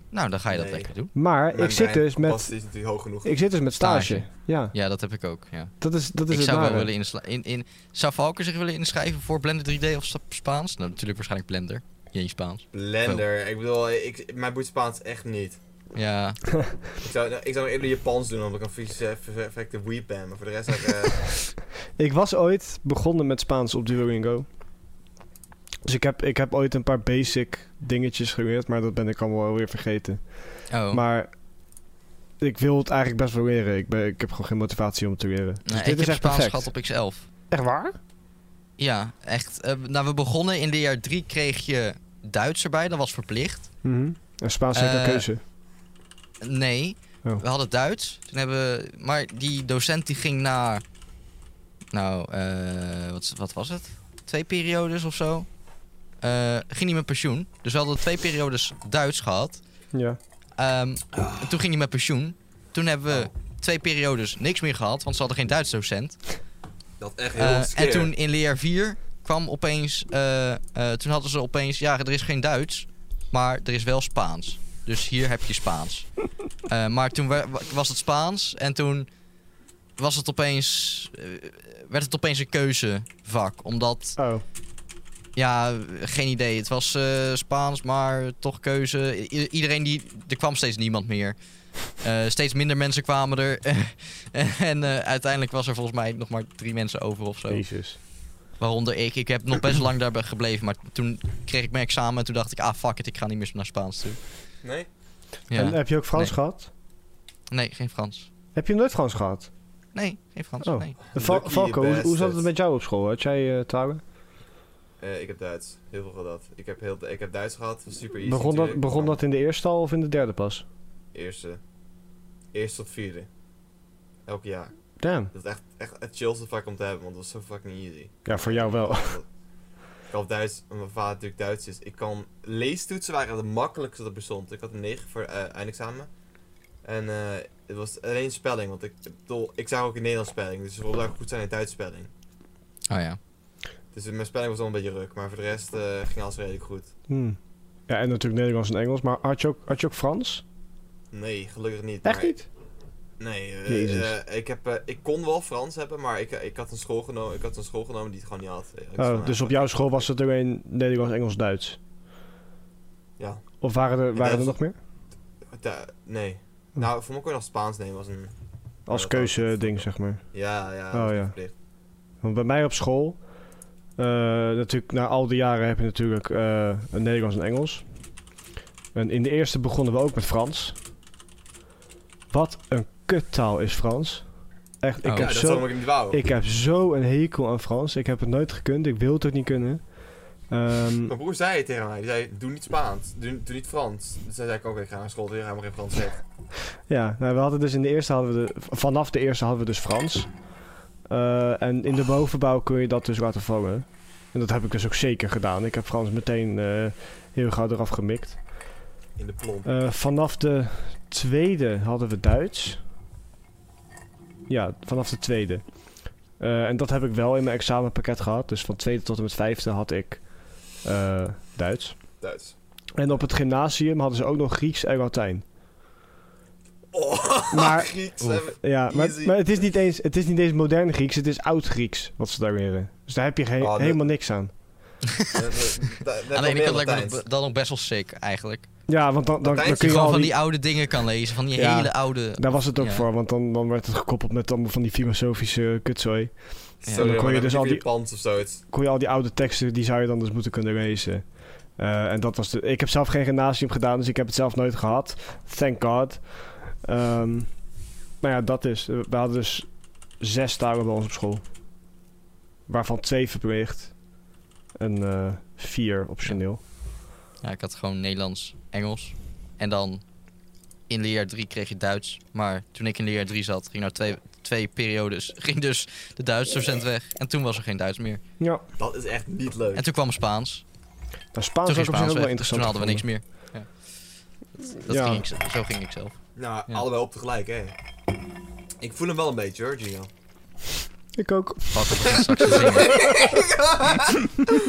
C: Nou, dan ga je dat
B: Nee.
C: lekker doen.
A: Maar
B: Mijn
A: ik zit,
B: brein
A: dus met,
B: past is natuurlijk hoog genoeg.
A: ik zit dus met stage.
C: Stage.
A: Ja.
C: Ja, dat heb ik ook. Ja.
A: Dat is, dat is
C: Ik
A: het
C: zou wel
A: nare.
C: willen insla- in, in Zou Falco zich willen inschrijven voor Blender 3D of Sp- Spaans? Nou, natuurlijk waarschijnlijk Blender. Geen Spaans.
B: Blender. Ik bedoel, ik, mijn boeit Spaans echt niet.
C: Ja,
B: Ik zou, ik zou eerder Japans doen, omdat ik een vieze perfecte weep ben. Maar voor de rest heb ik... eh, [LAUGHS]
A: Ik was ooit begonnen met Spaans op Duolingo. Dus ik heb, ik heb ooit een paar basic dingetjes geleerd, maar dat ben ik allemaal weer vergeten.
C: Oh,
A: Maar ik wil het eigenlijk best wel leren. Ik, ben, ik heb gewoon geen motivatie om het te leren. Dus
C: nou,
A: dit
C: ik
A: is
C: heb
A: echt
C: Spaans
A: perfect.
C: gehad op X11.
A: Echt waar?
C: Ja, echt. Eh, nou, we begonnen in de jaar 3 kreeg je Duits erbij, dat was verplicht.
A: En Spaans heb ik een
C: Eh,
A: keuze.
C: Nee,
A: Oh.
C: we hadden Duits. Toen hebben we, maar die docent die ging naar, nou, eh, wat, wat was het? Twee periodes of zo. Eh, ging hij met pensioen. Dus we hadden twee periodes Duits gehad.
A: Ja.
C: Ehm, en Toen ging hij met pensioen. Toen hebben we twee periodes niks meer gehad, want ze hadden geen Duits docent.
B: Dat echt
C: Eh,
B: heel
C: en toen in leer 4 kwam opeens, eh, eh, toen hadden ze opeens, ja, er is geen Duits, maar er is wel Spaans. Dus hier heb je Spaans. Eh, maar toen wa- wa- was het Spaans en toen was het opeens, eh, werd het opeens een keuzevak. Omdat,
A: Oh.
C: ja, geen idee, het was eh, Spaans, maar toch keuze. I- iedereen die, er kwam steeds niemand meer. Eh, steeds minder mensen kwamen er. [LAUGHS] en eh, uiteindelijk was er volgens mij nog maar drie mensen over of zo.
A: Jezus.
C: Waaronder ik. Ik heb nog best lang daarbij gebleven. Maar toen kreeg ik mijn examen en toen dacht ik... Ah, fuck it, ik ga niet meer naar Spaans toe.
B: Nee?
C: Ja.
A: En eh, heb je ook Frans
C: Nee.
A: gehad?
C: Nee, geen Frans.
A: Heb je nooit Frans gehad?
C: Nee, geen Frans.
A: Oh.
C: Nee.
A: De Val-
B: Lucky
A: Valko, hoe, hoe zat het
B: bastard.
A: met jou op school? Had jij eh talen?
B: Eh, ik heb Duits. Heel veel gehad. Ik heb, heel, ik heb Duits gehad. was super easy
A: Begon dat,
B: natuurlijk.
A: begon
B: Dan
A: dat in de eerste al of in de derde pas?
B: Eerste. Eerste tot vierde. Elk jaar.
A: Damn.
B: Dat is echt, echt het chillste vak om te hebben, want dat was zo fucking easy.
A: Ja, voor jou wel.
B: Ik had Duits, omdat mijn vader natuurlijk Duits is. Ik kan leestoetsen waren de makkelijkste dat bestond. Ik had een 9 voor eh, eindexamen. En eh, het was alleen spelling, want ik, ik bedoel, ik zag ook in Nederlands spelling. Dus vooral dat ik goed zijn in Duits spelling.
C: Oh ja.
B: Dus mijn spelling was wel een beetje ruk, maar voor de rest eh, ging alles redelijk goed.
A: Hmm. Ja, en natuurlijk Nederlands en Engels. Maar had je ook, had je ook Frans?
B: Nee, gelukkig niet.
A: Echt
B: maar-
A: niet?
B: Nee, eh,
A: Jezus.
B: eh, ik, heb, eh, ik kon wel Frans hebben, maar ik, eh, ik, had een school genomen, ik had een school genomen die het gewoon niet had. Ik was
A: Oh,
B: van,
A: dus
B: eh,
A: op jouw school was het alleen Nederlands, Engels, Duits?
B: Ja.
A: Of waren er, waren er
B: Duits.
A: nog meer?
B: Da- nee.
A: Hm.
B: Nou, voor me kon je nog Spaans nemen als een...
A: Als
B: dat
A: keuze
B: ook.
A: ding, zeg maar.
B: Ja, ja.
A: Oh,
B: dat is
A: ja.
B: verplicht.
A: Want bij mij op school, eh, natuurlijk, na al die jaren heb je natuurlijk eh, een Nederlands en Engels. En in de eerste begonnen we ook met Frans. Wat een kuttaal is Frans. Echt, ik,
C: Oh.
A: heb
B: ja, dat
A: zo,
B: zou ik niet wou.
A: ik heb zo een hekel aan Frans. Ik heb het nooit gekund, ik wil het ook niet kunnen. Ehm, [LAUGHS]
B: Mijn broer zei het tegen mij. Die zei, doe niet Spaans. Doe, doe niet Frans. Dus toen zei ik, oké, ik ga naar school. Ik ga maar geen Frans zeggen.
A: Ja, nou, we hadden dus in de eerste hadden we de, vanaf de eerste hadden we dus Frans. Eh, en in de bovenbouw kun je dat dus laten vallen. En dat heb ik dus ook zeker gedaan. Ik heb Frans meteen eh, heel gauw eraf gemikt.
B: In de plomp.
A: Eh, vanaf de tweede hadden we Duits. Ja, vanaf de tweede. Eh, en dat heb ik wel in mijn examenpakket gehad. Dus van tweede tot en met vijfde had ik eh, Duits.
B: Duits.
A: En op het gymnasium hadden ze ook nog Grieks en Latijn.
B: Oh, [LAUGHS]
A: Maar-
B: Grieks.
C: [LAUGHS] Oeh.
B: hebben-
A: Ja, maar,
B: Easy.
A: maar het, is niet eens, het is niet eens modern Grieks, het is oud Grieks wat ze daar leren. Dus daar heb je geen-
C: Oh,
B: Ah, dat-
A: helemaal niks aan.
B: Eh, eh, da- da-
C: Aan de ene
B: meer
C: kant lijkt me
B: Latijns.
C: dat- dat nog best wel sick, eigenlijk.
A: Ja, want dan, dan, dan
B: Latijn is
C: Dat je
A: kun je
C: gewoon
A: al
C: van
A: die,
C: die oude dingen kan lezen. Van die
A: Ja.
C: hele oude...
A: Daar was het ook
C: Ja.
A: voor, want dan, dan werd het gekoppeld met allemaal van die filosofische kutzooi.
B: Sorry,
A: dan
B: maar
A: kon je dus
B: heb
A: al die-
B: Japans of zoiets.
A: Kon je al die oude teksten, die zou je dan dus moeten kunnen lezen. Eh, en dat was de... Ik heb zelf geen gymnasium gedaan, dus ik heb het zelf nooit gehad. Thank God. Ehm, maar ja, dat is... We hadden dus zes talen bij ons op school. Waarvan twee verplicht. En eh, vier optioneel.
C: Ja, ik had gewoon Nederlands, Engels. En dan in leerjaar 3 kreeg je Duits. Maar toen ik in leerjaar 3 zat, ging nou twee, twee periodes... [LAUGHS] ging dus de Duits docent weg. En toen was er geen Duits meer.
A: Ja.
B: Dat is echt niet leuk.
C: En toen kwam Spaans.
A: Nou, Spaans
C: Toen
A: was
C: ging
A: op zich
C: Spaans
A: ook wel
C: weg. Dus
A: interessant.
C: toen hadden we niks
A: gevonden.
C: meer. Ja. Dat, dat
A: Ja.
C: ging ik, z- zo ging ik zelf.
B: Nou,
C: Ja.
B: allebei op tegelijk, hè. Ik voel hem wel een beetje, hoor, Gio.
A: Ik ook.
C: Fuck, ik begin straks te zingen.
A: [LAUGHS]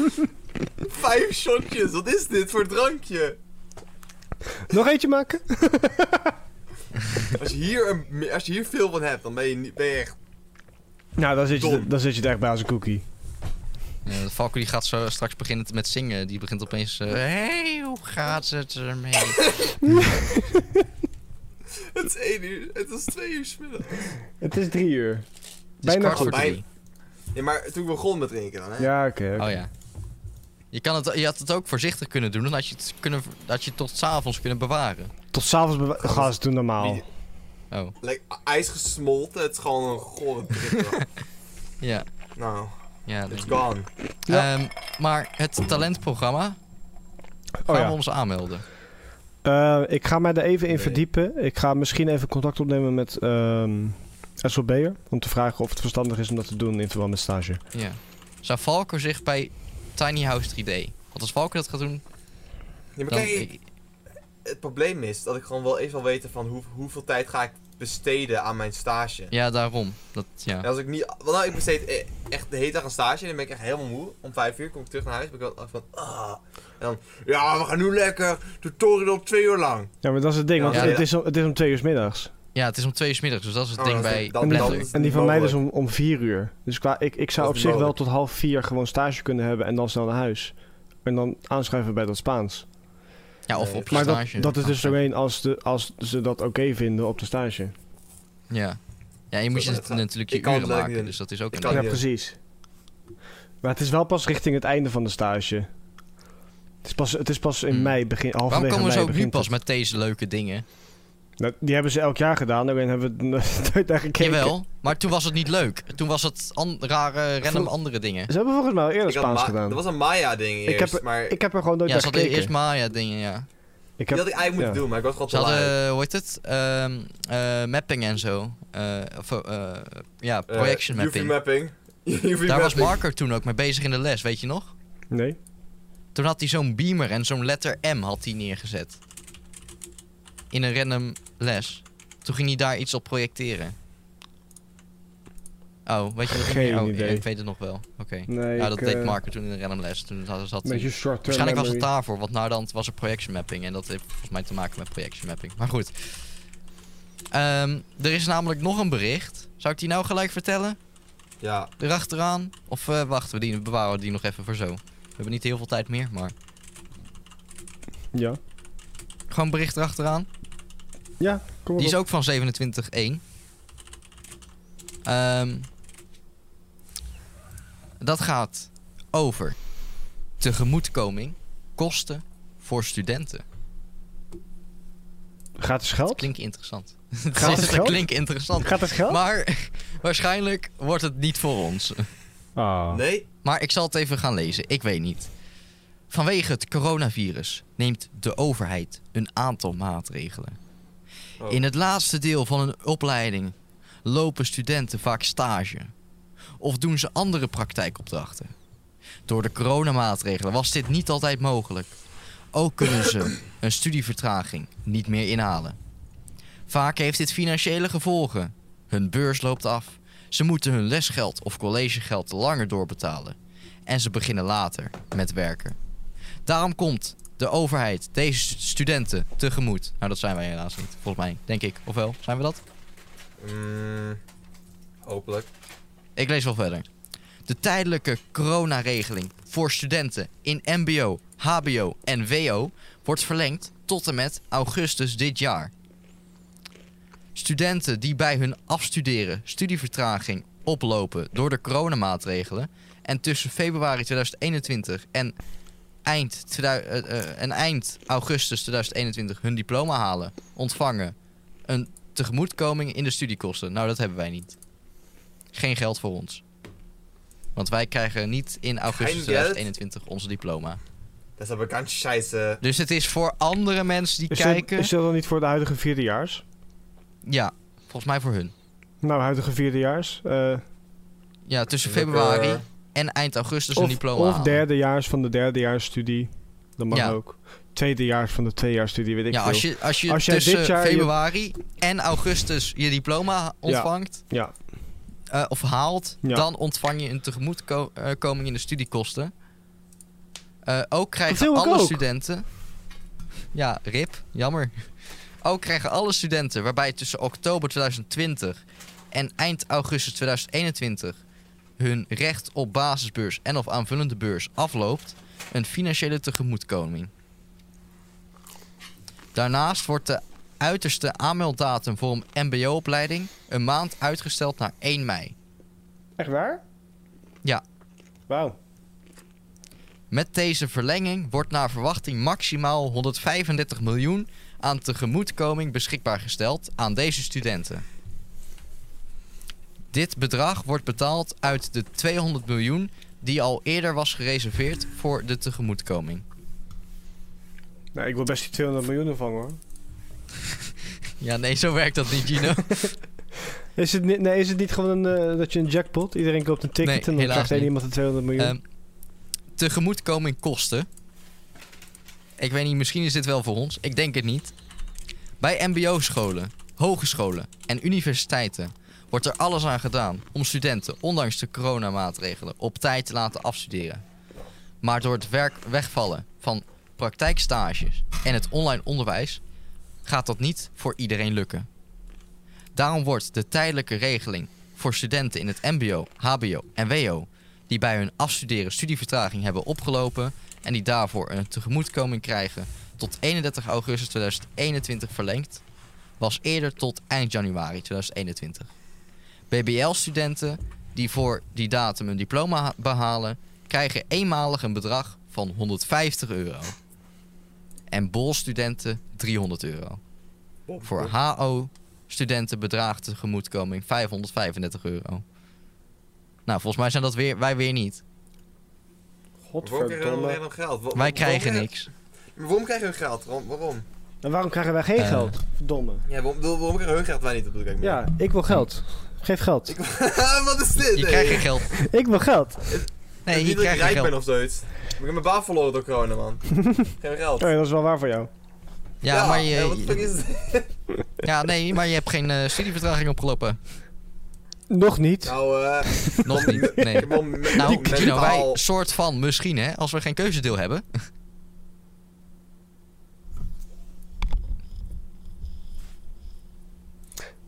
B: Vijf shotjes. Wat is dit voor drankje?
A: Nog eentje maken?
B: Als je hier, een, als je hier veel van hebt, dan ben je, niet, ben je echt...
A: Nou, dan zit, je,
B: Dom.
A: dan zit je er echt bij als een cookie.
C: Ja, de Falco die gaat zo straks beginnen met zingen. Die begint opeens... Hé, hey, hoe gaat het ermee?
B: Het is één uur. Het is twee uur 's middags.
A: Het is drie uur.
C: Het is
A: Bijna
C: kwart voor
B: goed.
C: drie.
B: Ja, maar toen ik begon met drinken dan, hè?
A: Ja, oké. oké.
C: Oh ja. Je, kan het, je had het ook voorzichtig kunnen doen. Dan had je het, kunnen, had je het tot s'avonds kunnen bewaren.
A: Tot s'avonds bewa-
B: Gast.
A: gaan ze doen normaal.
B: Wie-
C: Oh,
B: Like, ijs gesmolten, het is gewoon een gore trip.
C: [LAUGHS]
B: bro.
C: ja.
B: nou,
C: ja
B: it's
C: denk ik.
B: gone.
A: Ja.
C: Ehm, maar het talentprogramma gaan
A: Oh
C: we
A: ja.
C: ons aanmelden.
A: Eh, ik ga mij er even in
B: Nee.
A: verdiepen. Ik ga misschien even contact opnemen met ehm SLB'er. Om te vragen of het verstandig is om dat te doen in verband met stage.
C: Ja. Zou Valko zich bij Tiny House 3D? Want als Valko dat gaat doen,
B: Ja, maar
C: dan...
B: kijk, het probleem is dat ik gewoon wel even wil weten van hoe, hoeveel tijd ga ik besteden aan mijn stage.
C: Ja, daarom. Dat, ja.
B: En als ik niet... Want nou, ik besteed e- echt de hele dag aan stage en dan ben ik echt helemaal moe. Om vijf uur kom ik terug naar huis ben ik wel van... Ah. En dan, ja, we gaan nu lekker tutorial twee uur lang.
A: Ja, maar dat is het ding.
B: Ja,
A: Want
B: ja.
A: het, is om, het is om twee uur 's middags.
C: ja, het is om twee uur 's middags, dus dat is het
B: Oh,
C: ding
B: dat is-
C: bij
B: dan-
A: En die,
B: Blender.
A: van,
C: Blender.
B: is het
A: en die van mij
B: mogelijk.
A: dus om, om vier uur. Dus qua, ik, ik zou
B: Dat
A: op
B: is
A: zich wel
B: mogelijk.
A: tot half vier gewoon stage kunnen hebben en dan snel naar huis. En dan aanschuiven bij dat Spaans.
C: Ja, of
B: Nee,
C: op je
A: Maar
C: stage.
A: dat, dat is dus
C: Ja.
A: alleen als, de, als ze dat oké vinden op de stage.
C: Ja. Ja, je moet
B: Zo,
C: je
B: dat gaat-
C: natuurlijk je
B: ik kan het
C: uren
B: leuk
C: maken,
B: doen.
C: dus dat is ook
B: Ik
C: een
B: kan
A: ja,
C: ding.
B: niet.
A: precies. Maar het is wel pas richting het einde van de stage. Het is pas, het is pas in
C: Hmm.
A: mei, begin,
C: Waarom
A: halverwege
C: komen
A: mei
C: ze ook nu
A: begint
C: pas
A: het.
C: met deze leuke dingen?
A: Nou, die hebben ze elk jaar gedaan, alleen hebben we het [LAUGHS] nooit naar gekeken.
C: Jawel, maar toen was het niet leuk. Toen was het an- rare, random
A: Vroeg-
C: andere dingen.
A: Ze hebben volgens mij al eerder
B: Ik had
A: Spaans
B: Ma-
A: gedaan.
B: Dat was een Maya-ding
A: Ik
B: eerst,
A: heb er-
B: maar
A: Ik heb er gewoon nooit
C: Ja,
A: naar
C: ze hadden
A: gekeken.
C: eerst Maya dingen, ja.
A: ik
B: die
A: heb,
B: had ik eigenlijk moeten
A: ja.
B: doen, maar ik was gewoon te
C: Ze hadden,
B: laat.
C: eh, hoe heet het? Ehm, eh, mapping en zo. Eh, of, eh, ja,
B: Eh,
C: projection
B: [LAUGHS]
C: mapping.
B: UV-mapping.
C: Daar was Marker toen ook mee bezig in de les, weet je nog?
A: nee.
C: Toen had hij zo'n beamer en zo'n letter M had hij neergezet. In een random les. Toen ging hij daar iets op projecteren. Oh, weet je wat ik
A: Geen
C: oh,
A: idee.
C: Ik weet het nog wel. Oké.
A: nee
C: Ja, dat
A: ik,
C: deed
A: eh,
C: Marker toen in een random les. Toen had, zat
A: Een
C: hij-
A: beetje short term
C: Waarschijnlijk was het
A: memory.
C: daarvoor, want nou dan was er projection mapping. En dat heeft volgens mij te maken met projection mapping. Maar goed. Ehm, er is namelijk nog een bericht. Zou ik die nou gelijk vertellen?
B: Ja,
C: Erachteraan? Of eh, wachten we die, bewaren we die nog even voor zo? We hebben niet heel veel tijd meer, maar...
A: Ja.
C: Gewoon bericht erachteraan.
A: Ja, kom maar
C: Die is
A: op.
C: ook van 27.1. Ehm dat gaat over tegemoetkoming, kosten voor studenten.
A: Gaat het geld?
C: Klinkt interessant. [LAUGHS]
A: Gaat het
C: dat
A: geld?
C: klinkt interessant.
A: Gaat het geld?
C: Maar [LAUGHS] waarschijnlijk wordt het niet voor ons.
A: Ah.
B: nee?
C: Maar ik zal het even gaan lezen. Ik weet niet. Vanwege het coronavirus neemt de overheid een aantal maatregelen.
B: Oh.
C: In het laatste deel van een opleiding lopen studenten vaak stage. Of doen ze andere praktijkopdrachten. Door de coronamaatregelen was dit niet altijd mogelijk. Ook kunnen ze een studievertraging niet meer inhalen. Vaak heeft dit financiële gevolgen. Hun beurs loopt af. Ze moeten hun lesgeld of collegegeld langer doorbetalen. En ze beginnen later met werken. Daarom komt de overheid deze stu- studenten tegemoet. Nou, dat zijn wij helaas niet, volgens mij. Denk ik. Ofwel, zijn we dat?
B: Mm, hopelijk.
C: Ik lees wel verder. De tijdelijke coronaregeling voor studenten in MBO, HBO en WO wordt verlengd tot en met augustus dit jaar. Studenten die bij hun afstuderen studievertraging oplopen door de coronamaatregelen en tussen februari 2021 en eind, 2000 eh, eh, en eind augustus 2021 hun diploma halen, ontvangen een tegemoetkoming in de studiekosten. Nou, dat hebben wij niet geen geld voor ons. Want wij krijgen niet in augustus
B: geld?
C: 2021 onze diploma.
B: Dat is een eh, ganz scheisse.
C: Dus het is voor andere mensen die
A: Is dat,
C: kijken.
A: is dat dan niet voor de huidige vierdejaars?
C: Ja, volgens mij voor hun.
A: Nou, huidige vierdejaars. eh
C: Ja, tussen
B: Lekker.
C: februari en eind augustus Dus een
A: of,
C: diploma.
A: of
C: halen.
A: derdejaars van de derdejaarsstudie. Dat mag
C: Ja.
A: ook. Tweedejaars van de tweejaars-studie, weet ik
C: Ja,
A: veel.
C: als je, als je
A: Als jij dit
C: tussen
A: jaar je-
C: februari en augustus je diploma ontvangt.
A: Ja.
C: eh, of haalt,
A: Ja.
C: dan ontvang je een tegemoetkoming in de studiekosten. Eh, ook krijgen
A: wil ik
C: alle
A: ook.
C: studenten. Ja, rip, jammer. Ook krijgen alle studenten waarbij tussen oktober 2020 en eind augustus 2021 hun recht op basisbeurs en of aanvullende beurs afloopt, een financiële tegemoetkoming. Daarnaast wordt de uiterste aanmelddatum voor een MBO-opleiding een maand uitgesteld naar 1 mei.
A: Echt waar?
C: Ja.
A: Wauw.
C: Met deze verlenging wordt naar verwachting maximaal 135 miljoen aan tegemoetkoming beschikbaar gesteld aan deze studenten. Dit bedrag wordt betaald uit de 200 miljoen die al eerder was gereserveerd voor de tegemoetkoming.
A: Nou, ik wil best die 200 miljoen ervan hoor.
C: Ja, nee, zo werkt dat niet, Gino.
A: Is het niet, nee, is het niet gewoon een, eh, dat je een jackpot? Iedereen koopt een ticket
C: Nee,
A: en dan
C: helaas
A: krijgt één
C: niet.
A: iemand de 200 miljoen.
C: Ehm, tegemoetkoming kosten. Ik weet niet, misschien is dit wel voor ons. Ik denk het niet. Bij mbo-scholen, hogescholen en universiteiten wordt er alles aan gedaan om studenten, ondanks de coronamaatregelen, op tijd te laten afstuderen. Maar door het werk wegvallen van praktijkstages en het online onderwijs gaat dat niet voor iedereen lukken. Daarom wordt de tijdelijke regeling voor studenten in het MBO, HBO en WO die bij hun afstuderen studievertraging hebben opgelopen en die daarvoor een tegemoetkoming krijgen tot 31 augustus 2021 verlengd, was eerder tot eind januari 2021. BBL-studenten die voor die datum een diploma ha- behalen, krijgen eenmalig een bedrag van 150 euro. En BOL-studenten 300 euro. Ehm, Voor HO-studenten bedraagt de tegemoetkoming 535 euro. Nou, volgens mij zijn dat weer, wij weer niet.
B: Waarom krijgen we
A: Godverdomme.
B: dan geld? Wa-
C: Wij
B: waarom
C: krijgen niks.
B: Maar waarom krijgen hun geld? Waarom? waarom?
A: En waarom krijgen wij geen
C: Eh.
A: geld? Verdomme.
B: Ja, waarom, waarom krijgen hun geld wij niet op de kijk?
A: Ja, ik wil geld. Geef geld. Ik,
B: Wat is dit?
C: Je
B: hey?
C: krijgt geen geld.
A: wil geld.
B: Het
C: Nee,
B: is
C: je
B: niet dat ik
C: krijgt geen
B: rijk ben
C: geld.
B: of zoiets. Maar ik heb mijn baan verloren door corona, [LAUGHS] man. Geen geld.
A: Oh ja, dat is wel waar voor jou.
C: Ja, maar
B: hey, wat de fuck
C: je,
B: is het?
C: ja, nee, maar je hebt geen eh, studievertraging
B: [LAUGHS]
C: opgelopen.
A: Nog niet.
B: Nou, eh...
C: [LAUGHS]
B: [LAUGHS]
C: Nog niet.
B: ik
C: Nee.
B: heb wel me-
C: Nou,
B: mentaal-
C: Gino, wij soort van misschien, hè, als we geen keuzedeel hebben.
A: [LAUGHS]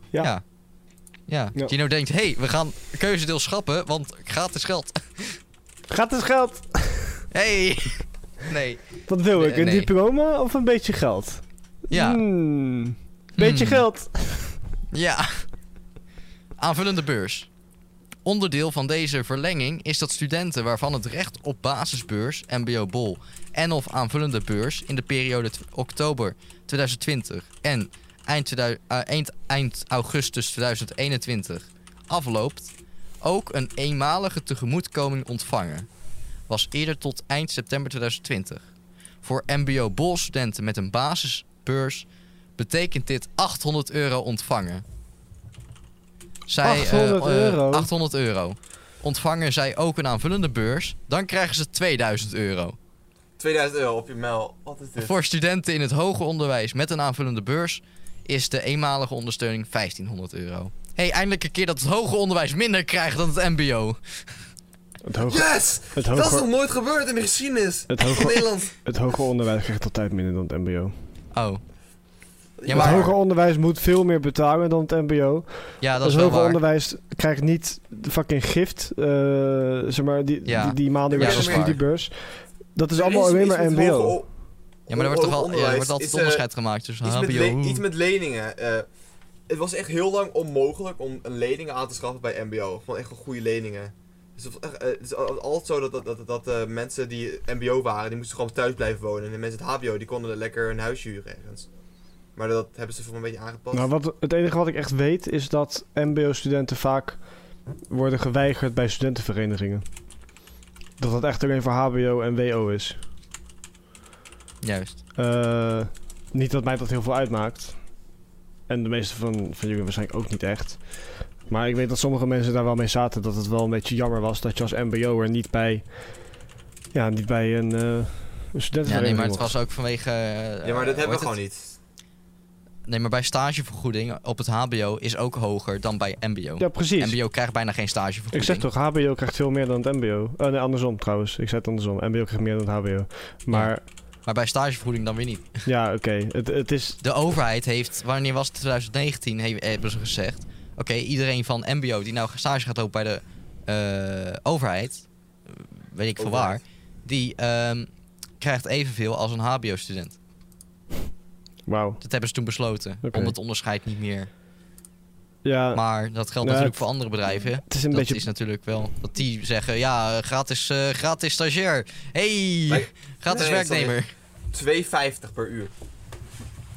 A: Ja.
C: Ja. Ja.
A: Ja.
C: Gino denkt, hé, hey, we gaan keuzedeel schrappen, want gratis geld. [LAUGHS]
A: Gaat het geld?
C: Hey. [LAUGHS] Nee.
A: Dat wil
C: Nee,
A: ik. Een
C: nee.
A: diploma of een beetje geld?
C: Ja.
A: Hmm. Beetje
C: Hmm.
A: geld.
C: Ja. Aanvullende beurs. Onderdeel van deze verlenging is dat studenten waarvan het recht op basisbeurs, MBO-BOL en of aanvullende beurs in de periode tw- oktober 2020 en eind, 2000 eh, eind, eind augustus 2021 afloopt, ook een eenmalige tegemoetkoming ontvangen. Was eerder tot eind september 2020. Voor MBO-BOL-studenten met een basisbeurs betekent dit 800 euro ontvangen. Zij, eh,
A: 800
C: eh,
A: euro?
C: 800 euro. Ontvangen zij ook een aanvullende beurs, dan krijgen ze 2000 euro.
B: 2000 euro op je mail. Wat is dit?
C: Voor studenten in het hoger onderwijs met een aanvullende beurs is de eenmalige ondersteuning 1500 euro. hey, eindelijk een keer dat het hoger onderwijs minder krijgt dan het MBO.
A: Het hoger,
B: Yes!
A: het
B: Dat is nog
A: hoger,
B: nooit gebeurd in de geschiedenis.
A: het
B: Van
A: hoger,
B: Nederland.
A: het hoger onderwijs krijgt altijd minder dan het mbo.
C: Oh, Ja,
A: Het
C: maar-
A: hoger onderwijs moet veel meer betalen dan het mbo.
C: ja, dat
A: het
C: is wel
A: hoger
C: waar.
A: onderwijs krijgt niet de fucking gift, eh, zeg maar, die,
C: Ja.
A: die, die maandelijkse
B: Ja, dat is waar.
A: studiebeurs. Dat is
B: Er
A: allemaal alleen maar
B: iets met hoger
A: mbo.
B: o-
C: Ja, maar er wordt
B: hoger
C: toch al, ja, er
B: onderwijs
C: wordt altijd
B: is, eh,
C: onderscheid gemaakt tussen
B: Iets met,
C: HBO.
B: le- iets met leningen. eh, het was echt heel lang onmogelijk om een lening aan te schaffen bij MBO. Gewoon echt wel goede leningen. Dus het, was echt, eh, het is al- altijd zo dat, dat, dat, dat eh, mensen die MBO waren, die moesten gewoon thuis blijven wonen. En de mensen uit HBO, die konden lekker een huis huren ergens. Maar dat hebben ze voor een beetje aangepast.
A: Nou, wat, het enige wat ik echt weet is dat mbo-studenten vaak worden geweigerd bij studentenverenigingen. Dat dat echt alleen voor hbo en wo is.
C: Juist.
A: Eh, niet dat mij dat heel veel uitmaakt. En de meeste van, van jullie waarschijnlijk ook niet echt. Maar ik weet dat sommige mensen daar wel mee zaten. Dat het wel een beetje jammer was dat je als mbo'er niet bij... Ja, niet bij een, eh een
C: Ja, nee,
A: studentenvereniging
C: maar het
A: mocht.
C: was ook vanwege... eh,
B: ja, maar
C: hoe
B: dat hebben
C: heet
B: we gewoon
C: het?
B: niet.
C: Nee, maar bij stagevergoeding op het HBO is ook hoger dan bij MBO.
A: Ja, precies.
C: MBO krijgt bijna geen
A: Ik
C: stagevergoeding.
A: zeg toch, hbo krijgt veel meer dan het mbo. Eh, nee, andersom trouwens. Ik zei het andersom. Mbo krijgt meer dan het hbo. Maar
C: Maar bij stagevergoeding dan weer niet.
A: ja, oké. Het, het is...
C: De overheid heeft, wanneer was het 2019, he- hebben ze gezegd. Oké, iedereen van MBO die nou stage gaat lopen bij de eh, overheid, eh, weet ik veel waar,
B: Overheid.
C: die ehm, krijgt evenveel als een HBO-student.
A: Wauw.
C: Dat hebben ze toen besloten,
A: Oké.
C: om het onderscheid niet meer
A: Ja,
C: Maar dat geldt
A: Ja,
C: natuurlijk
A: het-
C: voor andere bedrijven.
A: het is een
C: dat
A: beetje...
C: is natuurlijk wel. Dat die zeggen, ja, gratis, eh, gratis stagiair. hey,
B: Nee.
C: gratis
B: Nee,
C: werknemer.
B: 2,50 per uur.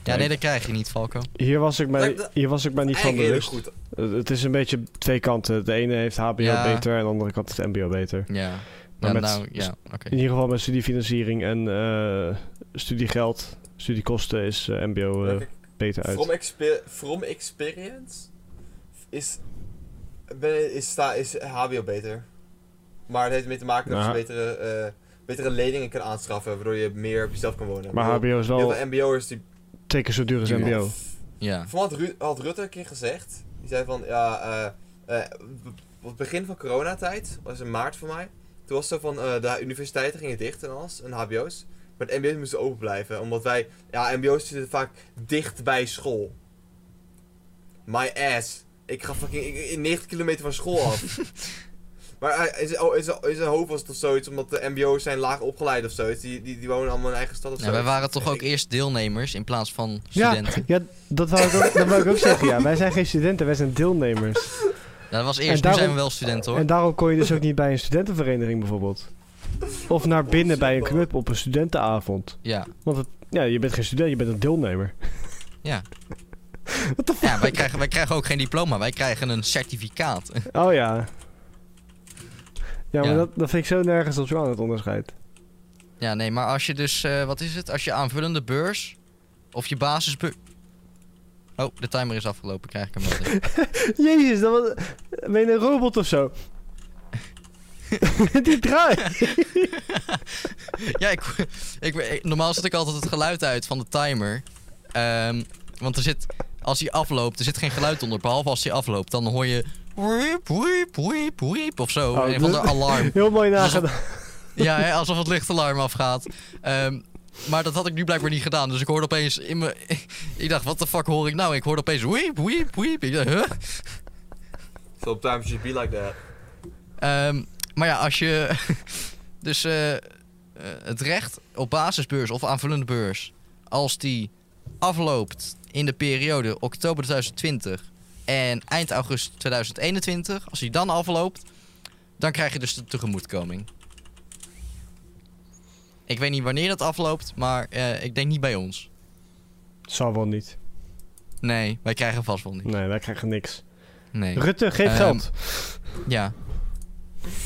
C: Ja, nee, dat krijg je niet, Falco.
A: Hier was ik mij,
B: Lijkt me-
A: hier was ik mij niet van
B: Eigenlijk
A: bewust.
B: redelijk goed.
A: Eh, Het is een beetje twee kanten. De ene heeft HBO
C: Ja.
A: beter en de andere kant heeft MBO beter.
C: Ja,
A: Maar
C: ja
A: met-
C: nou, ja, oké.
A: In ieder geval met studiefinanciering en eh, studiegeld, studiekosten is eh, MBO eh,
B: Kijk,
A: beter uit.
B: From, exper from experience is, ben, is, sta, is HBO beter. Maar het heeft ermee te maken dat
A: Nou,
B: je betere, eh, betere leningen kan aanschaffen, waardoor je meer op jezelf kan wonen.
A: Maar HBO is
B: Heel
A: wel
B: veel MBO'ers die...
A: twee keer zo duur als MBO.
C: Ja,
B: Van had, Ru- had Rutte een keer gezegd, die zei van, ja, eh, eh, op het begin van coronatijd, was in maart voor mij, toen was het zo van, eh, de universiteiten gingen dicht en alles, en HBO's. Maar de MBO's moesten open blijven, omdat wij, ja, MBO's zitten vaak dicht bij school. My ass. Ik ga fucking ik- ik- 90 kilometer van school
C: [LAUGHS]
B: af. maar hij- in zijn- oh, in zijn- in zijn hoofd was het of zoiets, omdat de MBO's zijn laag opgeleid of zoiets. Die, die, die wonen allemaal in hun eigen stad of
C: nou,
B: zo.
C: wij waren toch ook eerst deelnemers in plaats van
A: Ja.
C: studenten.
A: Ja, dat wou ik ook, dat wou ik ook zeggen. Ja. Wij zijn geen studenten, wij zijn deelnemers.
C: Nou, dat was eerst,
A: En
C: nu zijn
A: daarom-
C: we wel studenten hoor.
A: En daarom kon je dus ook niet bij een studentenvereniging bijvoorbeeld. Of naar binnen bij een club op een studentenavond.
C: Ja.
A: Want het, ja, je bent geen student, je bent een deelnemer.
C: Ja. ja, wij krijgen, wij krijgen ook geen diploma, wij krijgen een certificaat.
A: Oh ja. Ja, maar
C: Ja.
A: Dat, dat vind ik zo nergens op zo aan het onderscheid.
C: Ja, nee, maar als je dus, eh, wat is het? Als je aanvullende beurs of je basisbeurs... Oh, de timer is afgelopen, krijg ik hem wel.
A: [LAUGHS]
C: terug.
A: Jezus, dat was... Ben je een robot of
C: [LAUGHS]
A: zo? Die draait.
C: ja, ik, ik, ik- normaal zet ik altijd het geluid uit van de timer. Ehm, want er zit, als hij afloopt, er zit geen geluid onder. Behalve als hij afloopt, dan hoor je... Wiep, wiep, wiep, wiep, of zo.
A: Oh,
C: een van de
A: dat-
C: alarm.
A: Heel mooi nagedaan.
C: Ja, hè, alsof het lichtalarm afgaat. Ehm, maar dat had ik nu blijkbaar niet gedaan. Dus ik hoorde opeens in mijn... [LAUGHS] Ik dacht, wat de fuck hoor ik nou? Ik hoorde opeens wiep, wiep, wiep. Ik dacht, huh?
B: Sometimes you be like that.
C: Ehm, maar ja, als je... [LAUGHS] Dus eh, eh, het recht op basisbeurs of aanvullende beurs... als die afloopt in de periode oktober 2020 en eind augustus 2021... als die dan afloopt, dan krijg je dus de tegemoetkoming. Ik weet niet wanneer dat afloopt, maar eh, ik denk niet bij ons.
A: Zal wel niet.
C: Nee, wij krijgen vast wel niet.
A: Nee, wij krijgen niks.
C: Nee.
A: Rutte, geef
C: Ehm,
A: geld.
C: Ja.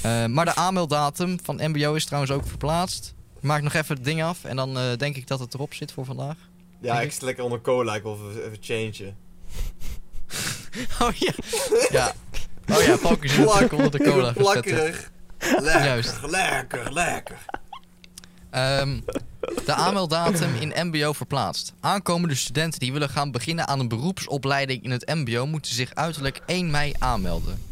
C: Eh, maar de aanmelddatum van MBO is trouwens ook verplaatst. Ik maak nog even het ding af en dan eh, denk ik dat het erop zit voor vandaag.
B: Ja, ik zit lekker onder cola. Ik wil even, even changen.
C: [LAUGHS] Oh ja. ja. Oh ja, Falco zit natuurlijk onder de cola gezet.
B: Plakkerig. Lekker,
C: Juist.
B: lekker, lekker.
C: Ehm, de aanmelddatum in MBO verplaatst. Aankomende studenten die willen gaan beginnen aan een beroepsopleiding in het MBO moeten zich uiterlijk 1 mei aanmelden.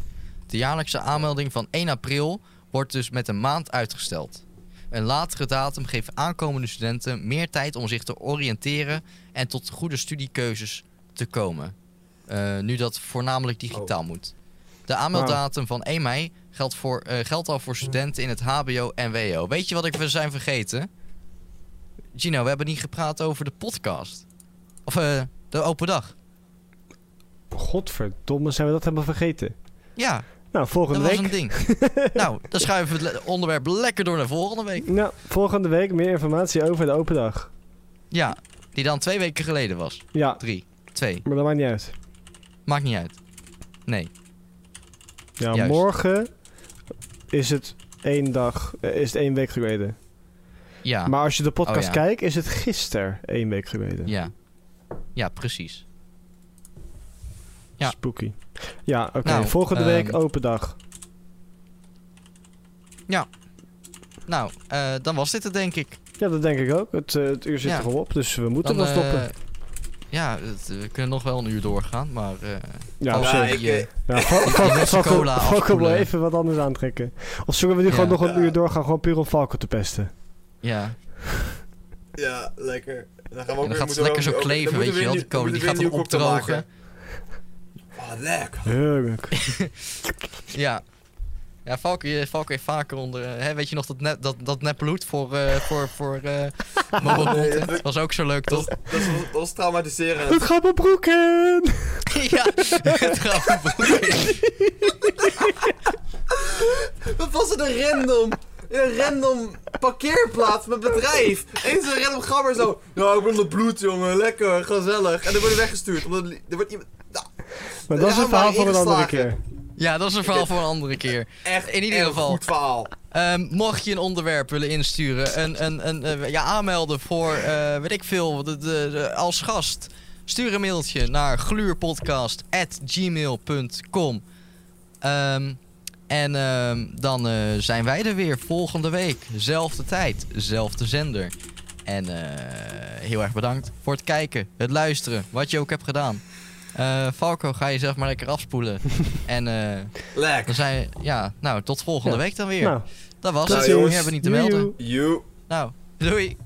C: De jaarlijkse aanmelding van 1 april wordt dus met een maand uitgesteld. Een latere datum geeft aankomende studenten meer tijd om zich te oriënteren en tot goede studiekeuzes te komen. Eh, nu dat voornamelijk digitaal moet. De aanmelddatum van 1 mei geldt, voor, eh, geldt al voor studenten in het HBO en WO. Weet je wat ik we zijn vergeten? Gino, we hebben niet gepraat over de podcast. Of eh, de open dag.
A: Godverdomme, zijn we dat helemaal vergeten.
C: Ja,
A: Nou,
C: dat
A: volgende
C: was
A: week.
C: een ding.
B: [LAUGHS]
C: nou, dan schuiven we het le- onderwerp lekker door naar volgende week.
A: Nou, volgende week meer informatie over de open dag.
C: Ja, die dan twee weken geleden was.
A: Ja,
C: Drie, twee.
A: maar dat maakt niet uit.
C: Maakt niet uit. Nee.
A: Ja,
C: Juist.
A: morgen is het één dag, eh, is het één week geleden.
C: Ja, Oh,
A: Maar als je de podcast
C: ja.
A: kijkt, is het gisteren één week geleden.
C: ja. Ja, precies. ja.
A: Spooky. Ja, oké.
C: Nou,
A: volgende week
C: ehm,
A: open dag.
C: Nou, eh, dan was dit het denk ik.
A: Ja, dat denk ik ook. Het, eh, het uur zit
C: Ja.
A: er al op, dus we moeten
C: dan
A: wel stoppen.
C: eh, ja, het- we kunnen nog wel een uur doorgaan, maar... eh
A: ja,
C: als
A: op
B: ja,
A: zich.
B: ik-
C: die, eh,
A: Ja, Fal- Fal-
C: mensen
A: Falco-
C: cola
A: Falco wil
C: afkoelen.
A: even wat anders aantrekken. Of zullen we nu
C: Ja.
A: gewoon nog een
B: Ja.
A: uur doorgaan, gewoon puur om Falco te pesten?
C: ja,
B: Ja, lekker. Dan gaan we
C: En dan
B: ook weer-
C: gaat het
B: moeten we
C: lekker
B: ook-
C: zo
B: ook- dan
C: kleven,
B: moeten
C: weet
B: we
C: je
B: weer
C: wel,
B: nieuw-
C: die kolen,
B: moeten
C: die
B: we
C: gaat
B: weer
C: dan
B: nieuw cocktail
C: opdrogen.
B: maken. Ah, lekker.
A: Heerlijk.
C: ja. Ja, Valk, Valk heeft vaker onder... eh, Hè, weet je nog dat, net, dat, dat nepbloed voor, eh voor, voor eh
B: [LAUGHS]
C: mobile
B: Nee,
C: content? Was ook zo leuk, toch?
B: [LAUGHS] Dat is, dat is traumatiserend.
A: Het gaat mijn broek in!
C: ja, [LAUGHS] het gaat
B: Wat was het een random, een random parkeerplaats met bedrijf. Eens een random gabber zo. Nou, ik ben onder bloed, jongen. Lekker, gezellig. En dan wordt hij weggestuurd. Omdat li- er wordt iemand... Nou,
A: Maar dat is een
B: Ja,
A: verhaal
B: maar
A: voor een andere keer.
B: ingeslagen.
C: Ja, dat is een verhaal voor een andere keer.
B: echt
C: In ieder
B: een
C: geval.
B: goed verhaal.
C: Ehm, mocht je een onderwerp willen insturen, een, een, een, eh, ja, aanmelden voor, eh, weet ik veel, de, de, de- als gast, stuur een mailtje naar gluurpodcast.gmail.com. Ehm, en ehm, dan eh, zijn wij er weer volgende week. Zelfde tijd, zelfde zender. En eh, heel erg bedankt voor het kijken, het luisteren, wat je ook hebt gedaan. Eh, Falco, ga je zelf maar lekker afspoelen. en eh, dan
B: Lekker.
C: zijn ja, nou, tot volgende
A: Ja.
C: week dan weer.
A: Nou,
C: Dat was
A: tot
C: het.
A: ziens.
C: Meer hebben we niet te melden.
A: Joejoe.
B: You.
C: Nou, doei.